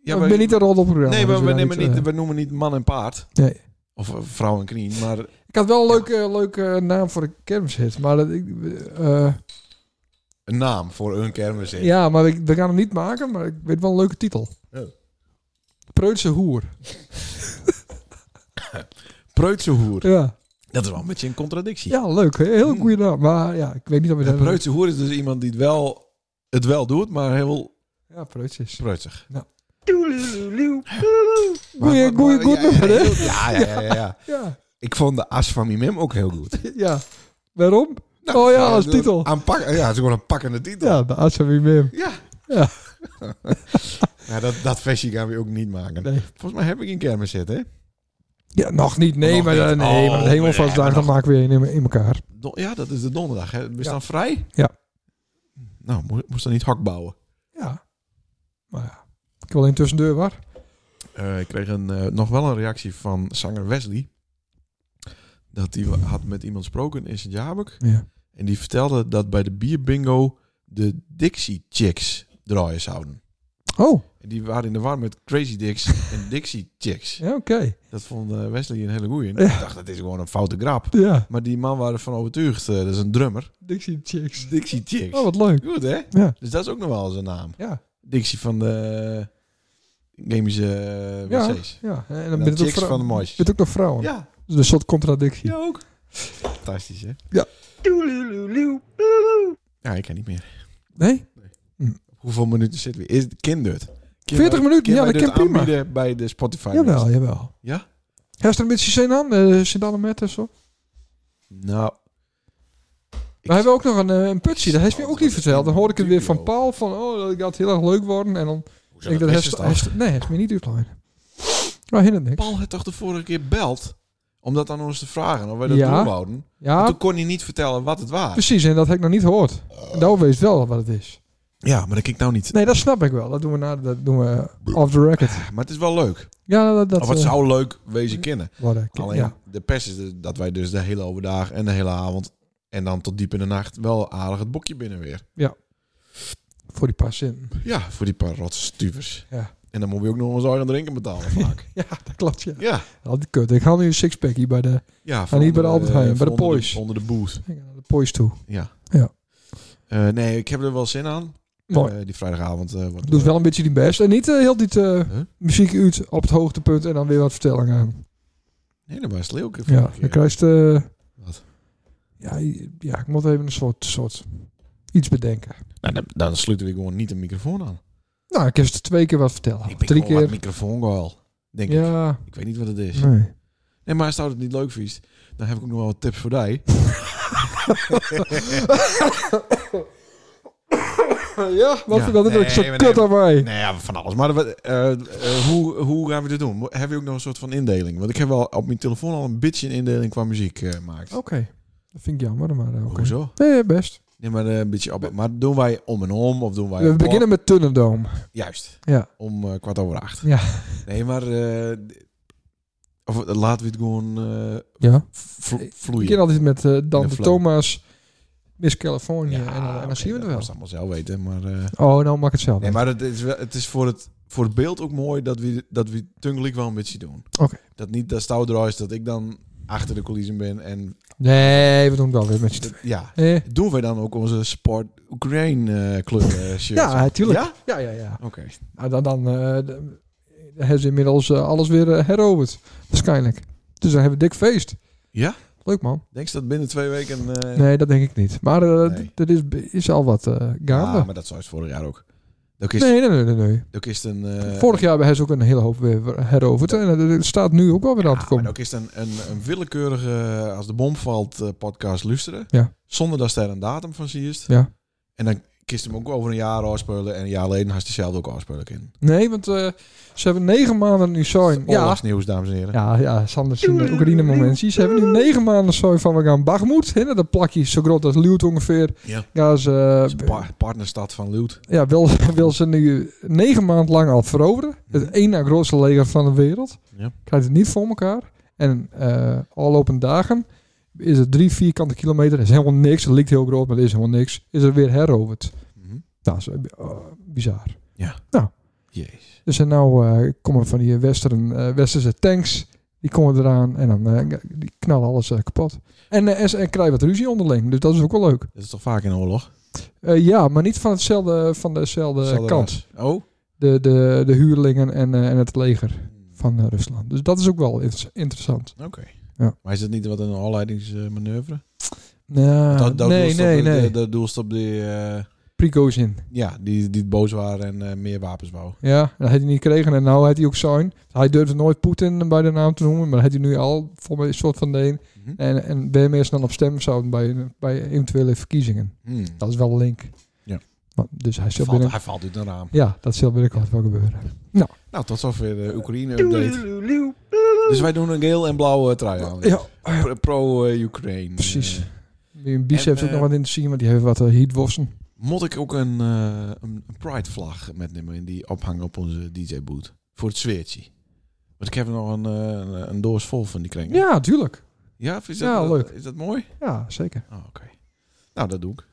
S3: ja
S2: ik
S3: maar-
S2: ben niet een roddelprogramma.
S3: Nee,
S2: dus
S3: we, we,
S2: ben
S3: nemen
S2: eh,
S3: niet, we noemen niet man en paard.
S2: Nee.
S3: Of eh, vrouw en knie, maar
S2: Ik had wel een leuke, leuke eh, naam voor een kermishit, maar dat ik... eh,
S3: een naam voor een kermis. in.
S2: Ja, maar ik- we gaan hem niet maken, maar ik weet wel een leuke titel.
S3: Oh.
S2: Preutse hoer.
S3: Preutse hoer.
S2: Ja,
S3: Dat is wel een beetje een contradictie.
S2: ja leuk. hè? Heel goede naam. Maar ja, ik weet niet of we
S3: Een
S2: dat...
S3: Preutse hoer is dus iemand die het wel, het wel doet, maar heel
S2: Ja, Preuts is.
S3: preutsig.
S2: Ja.
S3: Maar-
S2: Goeie-
S3: maar-
S2: goeie-
S3: maar-
S2: goed
S3: ja, ja,
S2: nummer, hè?
S3: Ja, ja, ja, ja, ja.
S2: Ja,
S3: Ik vond de as van mijn mem ook heel goed.
S2: ja. Waarom?
S3: Nou,
S2: oh ja,
S3: eh,
S2: als
S3: de-
S2: titel.
S3: aanpak- ja, het is gewoon een pakkende titel. Ja.
S2: Ja, de Assami Mim. Ja.
S3: dat, dat versie gaan we ook niet maken.
S2: Nee.
S3: Volgens mij heb ik een kermis zitten, hè?
S2: Ja, nog niet. Nee,
S3: Nog
S2: maar,
S3: niet.
S2: eh, nee,
S3: Oh,
S2: maar de
S3: we hebben
S2: hemelvastdag, dan
S3: nog-
S2: maken we een in, in elkaar.
S3: Do- ja, dat is de donderdag. Hè? We
S2: Ja.
S3: staan vrij.
S2: Ja.
S3: Nou, mo- moest dan niet hak bouwen.
S2: Ja. Maar ja, ik wil alleen tussendoor, waar?
S3: Eh, ik kreeg een, eh, nog wel een reactie van zanger Wesley. Dat hij had met iemand gesproken in sint Jabek.
S2: Ja.
S3: En die vertelde dat bij de bierbingo de Dixie Chicks draaien zouden.
S2: Oh,
S3: En die waren in de war met Crazy Dicks en Dixie Chicks.
S2: ja, oké.
S3: Dat vond eh, Wesley een hele goeie.
S2: Ja.
S3: Ik dacht, dat is gewoon een foute grap.
S2: Ja,
S3: Maar die man waren ervan overtuigd. eh, dat is een drummer.
S2: Dixie Chicks.
S3: Dixie Chicks.
S2: Oh, wat leuk.
S3: Goed, hè?
S2: Ja.
S3: Dus dat is ook nog wel zijn naam.
S2: Ja,
S3: Dixie van de chemische eh,
S2: Ja.
S3: wc's.
S2: ja. En
S3: En
S2: dan
S3: dan
S2: ben je ook,
S3: chicks
S2: vrou-
S3: van de moois.
S2: ben je ook nog vrouwen.
S3: Ja,
S2: Dus een soort contradictie.
S3: ja ook. Fantastisch, hè?
S2: Ja.
S3: Ja, ik kan niet meer.
S2: Nee?
S3: Hoeveel minuten zitten we? Is het kindert?
S2: 40 minuten, ja, dat
S3: kan
S2: kan prima.
S3: aanbieden bij de Spotify.
S2: Jawel, jawel.
S3: Ja?
S2: Heeft er een beetje zin aan? eh Sint-Annemet en zo?
S3: Nou.
S2: We hebben ook nog een, eh, een putje. Dat heeft me ook niet verteld. Dan hoorde ik het weer van
S3: Dubio.
S2: Paul van, oh, dat gaat heel erg leuk worden. En dan
S3: Hoezo,
S2: denk ik dat
S3: wist je
S2: heeft,
S3: toch?
S2: heeft- nee, heeft me niet uitgeleid. Nou, helemaal niks.
S3: Paul had toch de vorige keer belt? Om dat aan ons te vragen, of wij dat
S2: Ja.
S3: doen wouden.
S2: Ja, Dus-
S3: Maar Toen kon hij niet vertellen wat het was.
S2: precies. En dat heb ik nog niet gehoord. En daar weet wel wat het is.
S3: Ja, maar dat kijk ik nou niet.
S2: Nee, dat snap ik wel. Dat doen we, na, dat doen we off the record.
S3: Maar het is wel leuk.
S2: Ja, dat, dat
S3: of het
S2: eh,
S3: zou leuk wezen kennen.
S2: worden.
S3: Alleen
S2: Ja.
S3: de pers is de- dat wij dus de hele overdag en de hele avond... en dan tot diep in de nacht wel aardig het boekje binnen weer.
S2: Voor die paar zin.
S3: Ja, voor die paar rotse stuivers.
S2: Ja.
S3: En dan moet je ook nog eens eigen drinken betalen vaak.
S2: Ja, dat klopt, ja.
S3: ja.
S2: Al die kut. Ik haal nu een sixpack hier bij de,
S3: ja
S2: Maar niet bij de Albert Heijn,
S3: eh,
S2: bij de
S3: onder
S2: Poys.
S3: Onder de booth,
S2: naar de poise toe.
S3: ja.
S2: Ja.
S3: Eh, nee, ik heb er wel zin aan.
S2: Mooi.
S3: Eh, die vrijdagavond eh, wordt
S2: Doet wel een beetje die best. En niet eh, heel die eh,
S3: Huh?
S2: muziek uit op het hoogtepunt en dan weer wat vertellingen aan.
S3: Nee, dat was leuk. eh,
S2: Ja, dan krijg je... eh,
S3: Wat?
S2: ja, ja, ik moet even een soort, soort iets bedenken.
S3: Nou, dan, dan sluiten we gewoon niet een microfoon aan.
S2: Nou, ik heb ze twee keer wat vertellen.
S3: Ik ben
S2: Oh, Drie
S3: gewoon wat
S2: keer.
S3: microfoongeil, denk ik. Dus-
S2: Ja,
S3: Ik weet niet wat het is.
S2: nee.
S3: Nee, maar als het het niet leuk vies, dan heb ik ook nog wel wat tips voor die.
S2: Ja, wat,
S3: Ja.
S2: dat is
S3: Nee,
S2: ook zo'n
S3: maar
S2: kut
S3: nee,
S2: aan mij.
S3: Nee, ja, van alles. Maar wat- eh, eh, hoe, hoe gaan we dit doen? Mo- Heb je ook nog een soort van indeling? Want ik heb wel op mijn telefoon al een beetje een indeling qua muziek eh, gemaakt.
S2: Oké. Dat vind ik jammer, maar eh, Oh, oké.
S3: Hoezo?
S2: Nee, best.
S3: Nee, maar eh, een beetje op. Maar doen wij om en om of doen wij...
S2: We
S3: op-
S2: beginnen met Tunnendoom.
S3: Juist.
S2: Ja.
S3: Om eh, kwart over acht.
S2: Ja.
S3: Nee, maar... eh, d- of eh, laten we het gewoon eh,
S2: Ja.
S3: vlo-
S2: Ik
S3: vloeien.
S2: ken altijd met eh Dan de
S3: flow.
S2: Thomas, Miss California.
S3: Ja,
S2: en, dan- en dan
S3: oké,
S2: zien we het
S3: dat
S2: wel.
S3: moest allemaal zelf weten, maar... eh,
S2: Oh, nou maak het zelf.
S3: nee, maar het is, wel, het is voor, het, voor het beeld ook mooi dat we, dat we Tungelijk wel een beetje doen.
S2: Oké.
S3: Dat niet dat stout eruit is dat ik dan achter de coulissen ben en...
S2: Nee, we doen het wel weer met je.
S3: dat- ja.
S2: Nee.
S3: Doen wij dan ook onze Sport Ukraine eh club eh, shirt?
S2: Ja, tuurlijk.
S3: Ja?
S2: Ja, ja, ja.
S3: Oké.
S2: Nou, dan, dan eh, d- hebben ze inmiddels eh, alles weer eh, heroverd. Waarschijnlijk. Dus dan hebben we dik feest.
S3: Ja?
S2: Leuk man.
S3: Denk je dat binnen twee weken... eh,
S2: Nee, dat denk ik niet. Maar eh,
S3: Nee.
S2: d- er is, is al wat eh gaande.
S3: ah, maar dat zou het vorig jaar ook. Ook is,
S2: nee, nee, nee, nee. nee.
S3: ook is het een... eh,
S2: Vorig jaar hebben ze ook een hele hoop weer heroverd. En eh, er staat nu ook wel weer aan te
S3: Ja, maar
S2: komen.
S3: ook is het een, een, een willekeurige eh, als de bom valt eh, podcast luisteren.
S2: Ja.
S3: Zonder dat ze daar een datum van ziet.
S2: Ja.
S3: En dan kist hem ook over een jaar afspelen. En een jaar geleden had ze zelf ook afspelen in.
S2: Nee, want eh, ze hebben negen maanden nu zoin. Ja,
S3: Oorlogsnieuws, dames en heren.
S2: Ja, ja, Sander zien de Oekraïne momentjes. Ze hebben nu negen maanden zo van we gaan Bagmoed. Hè, dat plakje is zo groot als Liut ongeveer.
S3: Ja.
S2: Gaan ze,
S3: Dat is
S2: eh,
S3: een pa- partnerstad van Luut.
S2: ja, wil, wil ze nu negen maanden lang al veroveren. Het één na grootste leger van de wereld.
S3: Ja.
S2: Krijgt het niet voor elkaar. En eh al lopend dagen is het drie vierkante kilometer. Is helemaal niks. Het lijkt heel groot, maar het is helemaal niks. Is er weer heroverd.
S3: Mhm.
S2: Nou, zo, eh, bizar.
S3: Jeez.
S2: Dus en nou eh, komen van die western, eh, westerse tanks, die komen eraan en dan eh, die knallen alles eh, kapot. En, eh, en ze- en krijgen wat ruzie onderling, dus dat is ook wel leuk.
S3: Dat is toch vaak in oorlog?
S2: Eh, ja, maar niet van, hetzelfde, van dezelfde
S3: Zal er
S2: kant.
S3: was. Oh.
S2: De, de, de huurlingen en, eh, en het leger van eh, Rusland. Dus dat is ook wel inter- interessant.
S3: Oké.
S2: Ja.
S3: Maar is dat niet wat een afleidingsmanoeuvre?
S2: Nou,
S3: dat, dat
S2: nee,
S3: doelstop,
S2: nee,
S3: de,
S2: nee.
S3: De, de doelstop die, eh,
S2: Prigozhin.
S3: ja, die, die boos waren en eh, meer wapens wou.
S2: Ja, dat had hij niet gekregen en nou had hij ook zijn. Hij durfde nooit Poetin bij de naam te noemen, maar had hij nu al voor mij een soort van de een.
S3: Mhm.
S2: En, en ben je mensen dan op stem zouden bij, bij eventuele verkiezingen.
S3: Hmm.
S2: Dat is wel een link.
S3: Ja.
S2: Maar, dus hij zal
S3: Valt-
S2: binnen...
S3: hij valt uit een raam.
S2: Ja, dat zal binnenkort wel gebeuren.
S3: Nou, tot zover de Oekraïne-update. Dus wij doen een geel en blauwe trui aan.
S2: Ja,
S3: Pro-Ukraine.
S2: precies.
S3: Eh,
S2: Mijn biceps
S3: En,
S2: ook
S3: eh,
S2: nog wat in te zien, want die hebben wat uh, heatwossen.
S3: Moet ik ook een, eh, een Pride-vlag metnemen en die ophangen op onze DJ-boot? Voor het zweertje. Want ik heb er nog een, eh, een, een doos vol van die kringen.
S2: Ja, tuurlijk.
S3: ja of is dat,
S2: Ja, leuk.
S3: Is dat mooi?
S2: Ja, zeker.
S3: Oh, oké. Nou, dat doe ik.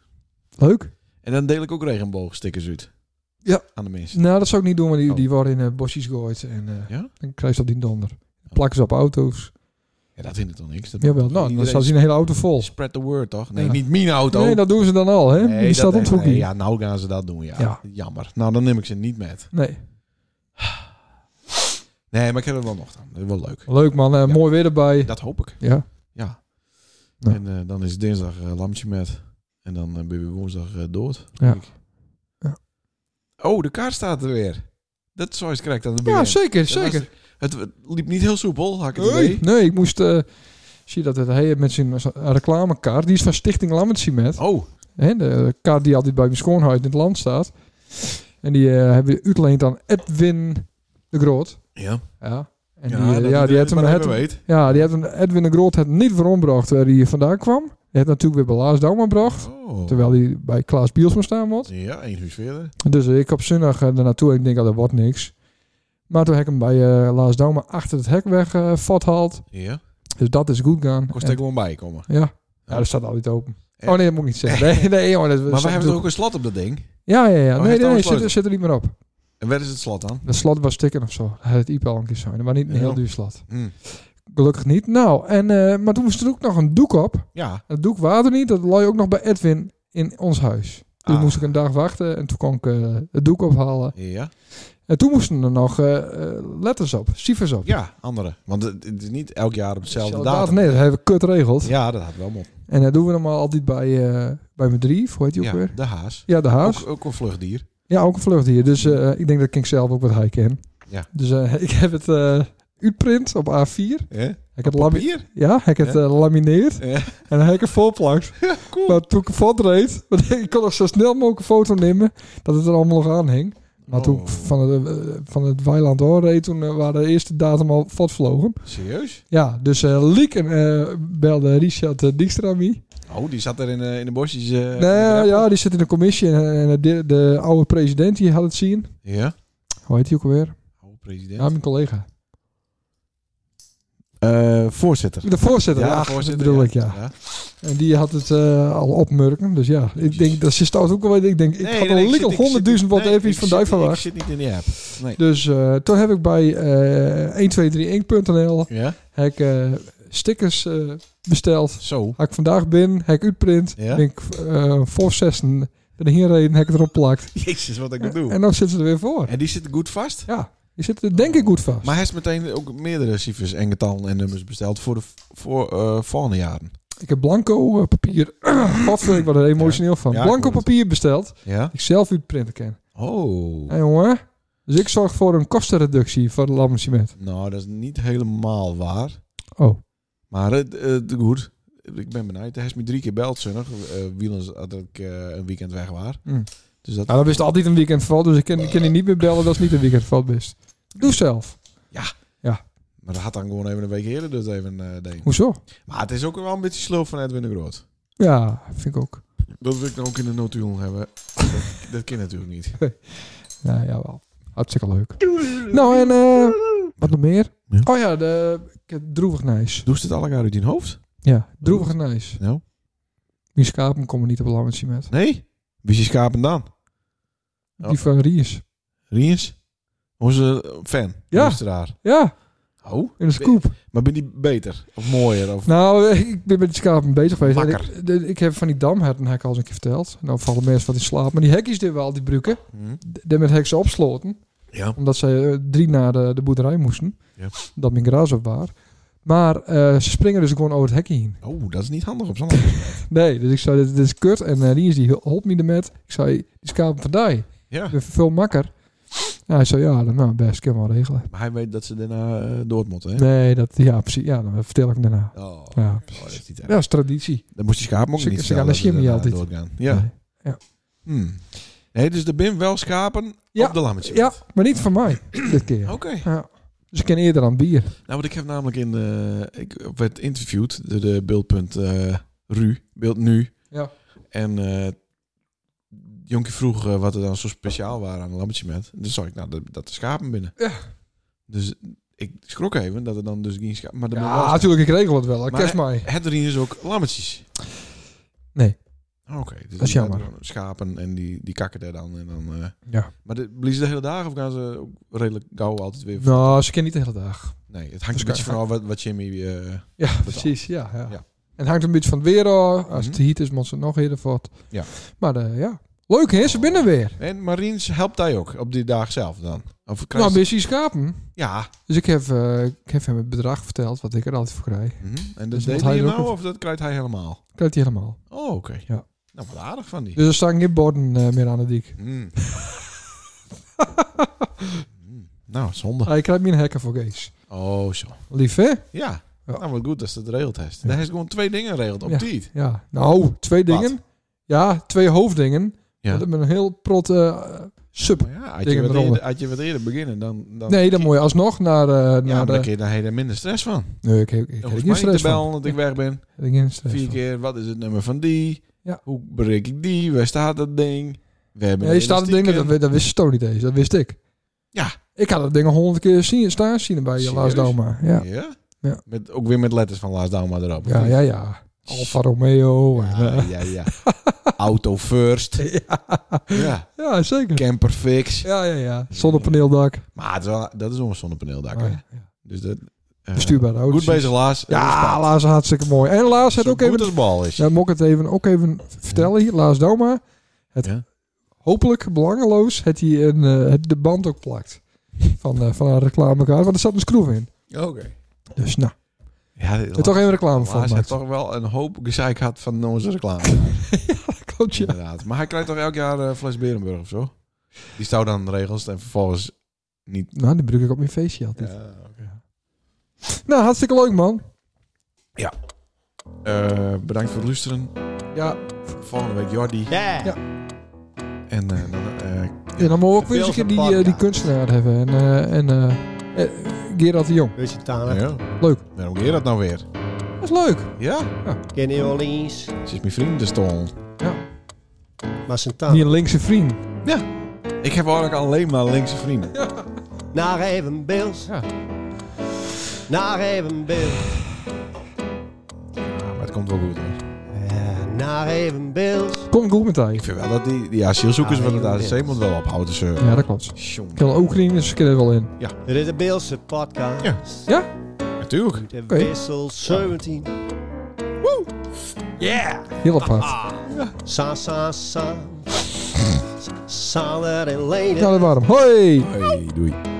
S2: Leuk.
S3: En dan deel ik ook regenboogstickers uit.
S2: Ja.
S3: Aan de mensen.
S2: Nou, dat zou ik niet doen, want die,
S3: Oh.
S2: die worden in eh, bosjes gegooid. En eh,
S3: Ja?
S2: dan krijg je op die donder. Plakken ze op auto's.
S3: Ja, dat vindt het dan niks. Dat
S2: Jawel,
S3: moet
S2: nou, dan
S3: iedereen
S2: staat ze een hele auto vol.
S3: Spread the word, toch? Nee,
S2: Ja.
S3: niet mijn auto.
S2: Nee, dat doen ze dan al, hè?
S3: Nee,
S2: die
S3: dat-
S2: staat op het
S3: nee,
S2: hoekje. Nee,
S3: Ja, nou gaan ze dat doen, ja.
S2: Ja.
S3: Jammer. Nou, dan neem ik ze niet met. Nee, maar ik heb er wel nog aan. Dat is wel leuk.
S2: Leuk, man. Eh,
S3: Ja.
S2: Mooi weer erbij.
S3: Dat hoop ik.
S2: Ja.
S3: Ja.
S2: Nou.
S3: En eh, dan is dinsdag eh, lampje met. En dan eh, ben je woensdag eh, dood.
S2: Ja.
S3: denk ik.
S2: Ja.
S3: Oh, de kaart staat er weer. Dat is zoals correct aan het begin.
S2: Ja, zeker,
S3: Dat was-
S2: zeker.
S3: Het, het liep niet heel soepel, had ik het
S2: Nee,
S3: idee.
S2: nee, ik moest... eh, zie je dat het hij heeft met zijn zijn reclamekaart. Die is van Stichting Lammetsie met.
S3: Oh,
S2: Hè, de kaart die altijd bij mijn schoonhuis in het land staat. En die eh, hebben we uitleend aan Edwin de Groot.
S3: ja.
S2: Ja. En die, eh, ja, die heeft hem, het,
S3: weet.
S2: ja, die heeft hem, Edwin de Groot het niet verombracht waar hij vandaan kwam. Hij heeft natuurlijk weer bij Lars Douwman gebracht.
S3: Oh.
S2: Terwijl hij bij Klaas Bielsma staan moet.
S3: Ja, één huis verder.
S2: Dus eh, ik op zondag eh, naartoe en ik denk, oh, dat wordt niks. Maar toen heb ik hem bij eh Lars Douwman achter het hek weg eh vathaald.
S3: Ja.
S2: Dus dat is goed gaan.
S3: Kost
S2: En-
S3: er gewoon bij komen.
S2: Ja. Ja, dat staat altijd open.
S3: En-
S2: Oh nee, dat moet ik niet zeggen. Nee, nee, jongen. Dat,
S3: Maar
S2: dat
S3: we
S2: natuurlijk-
S3: hebben toch ook een slot op dat ding?
S2: Ja, ja, ja.
S3: Oh,
S2: Nee,
S3: heeft
S2: nee,
S3: alles
S2: nee,
S3: sleutel?
S2: zit, zit er niet meer op.
S3: En waar is het slot dan?
S2: De slot was stikken of zo. Dat had het IPA al een keer zijn. Maar niet een heel
S3: Ja.
S2: duur slot.
S3: Hm.
S2: Gelukkig niet. Nou, en, eh, maar toen moest er ook nog een doek op.
S3: Ja.
S2: Dat doek waren er niet. Dat lag ook nog bij Edwin in ons huis. Toen
S3: Ah.
S2: moest ik een dag wachten en toen kon ik eh, het doek ophalen.
S3: Ja.
S2: En toen moesten er nog eh, eh, letters op, cijfers op.
S3: Ja, andere. Want het het is niet elk jaar op dezelfde
S2: Dezelfde
S3: datum.
S2: datum. Nee, dat hebben we kut geregeld.
S3: Ja, dat had wel mond.
S2: En dat doen we normaal altijd bij, eh bij mijn drie, hoe heet die ook
S3: Ja,
S2: weer?
S3: de haas.
S2: Ja, de haas.
S3: Ook, ook een vluchtdier.
S2: Ja, ook een vlucht hier. Dus eh, ik denk dat ik zelf ook wat hij ken.
S3: Ja.
S2: Dus eh, ik heb het eh uitprint op A4.
S3: hè
S2: Ik heb lami-
S3: Papier?
S2: ja, ik heb het
S3: Ja.
S2: eh, lamineerd
S3: Ja.
S2: en dan heb ik het volplakt.
S3: cool.
S2: Maar toen ik het voortreed, want ik kon nog zo snel mogelijk een foto nemen dat het er allemaal nog aan hing. Maar toen ik
S3: Oh.
S2: van het, eh, van het weiland doorreed, toen eh, waren de eerste datum al vastgevlogen.
S3: Serieus?
S2: Ja, dus eh Liek en, eh, belde Richard eh, Dijkstra mij.
S3: Oh, die zat er in, eh, in de bosjes. eh, in de
S2: nee,
S3: rappel.
S2: ja, die zit in de commissie en, en de, de oude president die had het zien.
S3: Ja.
S2: Hoe heet die ook alweer?
S3: Oh, president.
S2: Ja, mijn collega.
S3: Eh, voorzitter.
S2: De voorzitter, ja,
S3: voorzitter,
S2: bedoel ik, ja. En die had het eh, al opmerken, dus ja. Ik denk, dat zit stout ook wel, ik denk, ik
S3: Nee,
S2: had
S3: nee,
S2: al
S3: zit-
S2: lekker
S3: zit-
S2: 100.000 wat
S3: nee,
S2: even iets van
S3: ik zit-
S2: duif van
S3: Ik
S2: was.
S3: zit niet in die app. Nee.
S2: Dus eh, toen heb ik bij eh 1231.nl
S3: Ja,
S2: heb ik, eh, stickers eh, besteld.
S3: zo.
S2: Had ik vandaag binnen, heb ik uitprint.
S3: Ja.
S2: Ben ik eh voor zessen erheen reden, heb ik het erop plakt.
S3: Jezus, wat ik moet
S2: En
S3: doen.
S2: dan zitten ze er weer voor.
S3: En die zitten goed vast.
S2: Ja, die zitten er denk ik goed vast.
S3: Maar hij is meteen ook meerdere cijfers en getallen en nummers besteld voor de v- voor, eh volgende jaren.
S2: Ik heb blanco eh, papier. Wat ik word er emotioneel van.
S3: Ja, ik
S2: blanco
S3: hoor het.
S2: papier besteld.
S3: Ja?
S2: Ik zelf uitprinten ken.
S3: Oh.
S2: Hé jongen. Dus ik zorg voor een kostenreductie voor de lammensement.
S3: Nou, dat is niet helemaal waar.
S2: Oh.
S3: Maar het het- goed. Ik ben benieuwd. Hij is me drie keer beld, zonnig. eh Wielens had ik eh, een weekend weg waar.
S2: Mm.
S3: Dus dat...
S2: Nou, dat is altijd een weekendval, dus ik kan, ik kan je niet meer bellen dat is niet een weekendval best. Doe zelf.
S3: Maar dat had dan gewoon even een week eerder dus even eh deed.
S2: Hoezo?
S3: Maar het is ook wel een beetje sloof van Edwin de Groot.
S2: Ja, vind ik ook.
S3: Dat wil ik dan ook in de notulen hebben. dat, dat kan natuurlijk niet.
S2: Nou, jawel. Hartstikke leuk. Nou, en eh, wat nog meer?
S3: Ja.
S2: Oh ja, de, ik heb droevig nijs.
S3: Doe ze het allemaal uit je hoofd?
S2: Ja, droevig nijs.
S3: Nou?
S2: Mijn schapen komen niet op lammensement.
S3: Nee? Wie is je schapen dan? Oh.
S2: Die van Ries.
S3: Riens? Onze eh, fan.
S2: Ja.
S3: luisteraar.
S2: Ja,
S3: Oh.
S2: in de scoop.
S3: Maar ben die beter? Of mooier? Of...
S2: Nou, eh, ik ben met die schapen bezig geweest. En
S3: Makker.
S2: Ik, de- ik heb van die damherten, heb ik al eens een keer verteld. Nou vallen mensen wat in slaap. Maar die hekjes die we al die bruken,
S3: Hm?
S2: die met heksen opsloten.
S3: Ja.
S2: Omdat ze eh, drie naar de, de boerderij moesten.
S3: Ja.
S2: Dat mijn gras op was. Maar eh, ze springen dus gewoon over het hekje heen.
S3: Oh, dat is niet handig op zo'n
S2: Nee, dus ik zei, dit, dit is kut. En eh, die is die helpt me ermee. Ik zei, die schapen vandaag.
S3: Ja.
S2: Ik ben veel makker. Nou, hij zei, ja, dan, nou best, kan wel regelen.
S3: Maar hij weet dat ze daarna eh, door het moeten, hè?
S2: Nee, dat, ja, precies. Ja, dan vertel ik hem daarna.
S3: Oh, oh,
S2: Ja,
S3: dat
S2: precies.
S3: is niet erg.
S2: Ja, is traditie.
S3: Dan moest die schapen ook
S2: Ze-
S3: niet
S2: ze
S3: vertellen
S2: gaan
S3: dat
S2: naar Jimmy
S3: daarna
S2: altijd.
S3: doorgaan. Ja.
S2: Nee.
S3: Hm. Nee, dus de bin wel schapen
S2: Ja.
S3: op de lammetje.
S2: Ja, maar niet van mij. dit keer.
S3: Oké.
S2: Ja. Dus ik ken eerder aan bier.
S3: Nou, want ik heb namelijk in... eh ik werd interviewd door de beeldpunt eh Ru. Beeld Nu.
S2: Ja.
S3: En eh Jonkie vroeg eh, wat er dan zo speciaal waren aan een lammetje met. Dus zag ik, nou, dat, dat de schapen binnen.
S2: Ja.
S3: Dus ik schrok even dat er dan dus geen schapen... Maar er waren wel
S2: Ja, natuurlijk, ik regel het wel.
S3: Maar-
S2: Kerst mij.
S3: Het erin is ook lammetjes.
S2: Nee.
S3: Oké, dus
S2: Dat is
S3: die
S2: jammer.
S3: hebben Schapen en die, die kakken daar dan. En dan eh,
S2: Ja.
S3: maar de, bliezen de hele dag of gaan ze ook redelijk gauw altijd weer...
S2: Nou, ze kennen niet de hele dag.
S3: nee, het hangt
S2: Dus
S3: een beetje
S2: ga-
S3: vanaf wat, wat Jimmy... eh,
S2: Ja,
S3: is
S2: precies. Ja, ja.
S3: Ja.
S2: En het hangt een beetje van het weer af. Als het
S3: Mhm.
S2: heet is, moet ze het nog eerder voort.
S3: Ja.
S2: Maar eh, ja. Leuk, hè? Ze
S3: Oh.
S2: binnen weer.
S3: en Mariens helpt hij ook op die dag zelf dan? Of
S2: Nou,
S3: krijgt ze-
S2: busy schapen.
S3: Ja.
S2: Dus ik heb, eh, ik heb hem het bedrag verteld, wat ik er altijd voor krijg.
S3: mhm. En dat
S2: Dus moet
S3: deed
S2: hij
S3: hij
S2: er ook
S3: nou
S2: een-
S3: of dat krijgt hij helemaal?
S2: Krijgt hij helemaal.
S3: Oh, oké.
S2: Ja.
S3: Nou, wat aardig van die.
S2: Dus er staan geen borden eh, meer aan de dik.
S3: Mm. Mm. Nou, zonde.
S2: Hij krijgt meer een hekken voor Gees.
S3: Oh, zo.
S2: Lief, hè?
S3: Ja.
S2: Ja.
S3: Nou, wat goed dat ze het regeld heeft.
S2: Ja.
S3: Hij heeft gewoon twee dingen regeld op
S2: Ja.
S3: tijd.
S2: Ja. Nou, twee
S3: Wat?
S2: dingen. Ja, twee hoofdingen.
S3: Ja.
S2: Met een heel prot eh Super.
S3: Maar Oh ja, had je,
S2: Dingen
S3: wat
S2: eronder.
S3: eerder, had je wat eerder beginnen, dan... dan
S2: Nee, dan moet je alsnog naar, eh
S3: Oh, Ja, maar
S2: naar
S3: dan
S2: de...
S3: kun je daar helemaal minder stress van. Dan
S2: Nee, ik heb ik heb er geen
S3: hoef je maar niet te
S2: stress van.
S3: bellen dat ik weg ben.
S2: Ik heb er geen stress
S3: Vier
S2: van.
S3: keer, wat is het nummer van die?
S2: Ja.
S3: Hoe bereik ik die? Waar staat dat ding? We hebben
S2: Ja, je staat het ding, dat, we- dat wist Stone niet eens. Dat wist ik.
S3: Ja.
S2: Ik had dat ding al honderd keer zien, staan zien bij je
S3: Serieus?
S2: Laas Doma. Ja.
S3: Ja?
S2: Ja.
S3: Met, ook weer met letters van Lars Dauma erop. of
S2: Ja,
S3: niet?
S2: ja, ja. Alfa Romeo. en,
S3: Ja,
S2: eh,
S3: ja, ja. Auto first. Ja.
S2: ja, zeker.
S3: Camper fix.
S2: Ja, ja, ja. Zonnepaneeldak.
S3: Maar het is wel- dat is wel een zonnepaneeldak. hè.
S2: Oh, Ja, ja.
S3: Dus dat... eh,
S2: Bestuurbare auto's.
S3: Goed bezig, Lars.
S2: Ja, Laas is hartstikke mooi. En Laas
S3: het
S2: had ook even...
S3: als bal is.
S2: Ja, moet ik het even, ook even vertellen hier. Laas Doma. Het
S3: Ja.
S2: hopelijk belangeloos het hij een, eh, het- de band ook plakt. Van, eh, van haar reclamekaart. Want er zat een schroef in.
S3: Oké.
S2: Dus nou,
S3: Ja,
S2: er toch even reclame van
S3: Hij heeft
S2: gemaakt.
S3: toch wel een hoop gezeik gehad van onze reclame.
S2: Klopt, ja.
S3: Inderdaad. Maar hij krijgt toch elk jaar eh, fles Berenburg of zo? Die staan dan regels en vervolgens...
S2: Nou, die bruk ik op mijn feestje altijd.
S3: Ja,
S2: Nou, hartstikke leuk, man.
S3: Eh, bedankt voor het luisteren.
S2: Ja,
S3: Volgende week Jordi.
S1: Ja.
S2: Ja.
S3: En eh, dan... eh,
S2: en dan mogen we ook weer eens een
S1: Veel
S2: keer die,
S1: podcast.
S2: eh, die kunstenaar hebben. En, eh en eh, eh, Gerard de Jong.
S1: Dus je
S3: nou
S1: talen.
S3: ja.
S2: Leuk.
S3: Waarom keer dat nou weer?
S2: Dat is leuk.
S3: Ja?
S1: Ken je wel eens?
S3: Ze is mijn vrienden te stolen.
S1: Maar zijn
S2: Die
S1: talen.
S2: een linkse vriend.
S3: Ik heb eigenlijk alleen maar linkse vrienden.
S1: Naar even beeld.
S2: Ja.
S1: Naar even beeld.
S3: Ja, maar het komt wel goed hoor.
S1: Ja, naar even beeld.
S2: Komt goed met hij.
S3: Ik vind wel dat die, die asielzoekers
S1: Ja,
S3: van het
S1: heel
S3: AZC moet wel ophouden ze.
S2: Ja, dat klopt. Ik wil Oekraïners kunnen er wel in.
S1: Dit is de Beelse podcast.
S3: Ja.
S2: Ja?
S3: Natuurlijk.
S1: De
S2: Oké.
S1: wissel 17.
S2: Heel apart.
S1: Sa, sa, sa. Saler en Lenen.
S2: Nou, dat warm. Hoi!
S3: Hey, doei.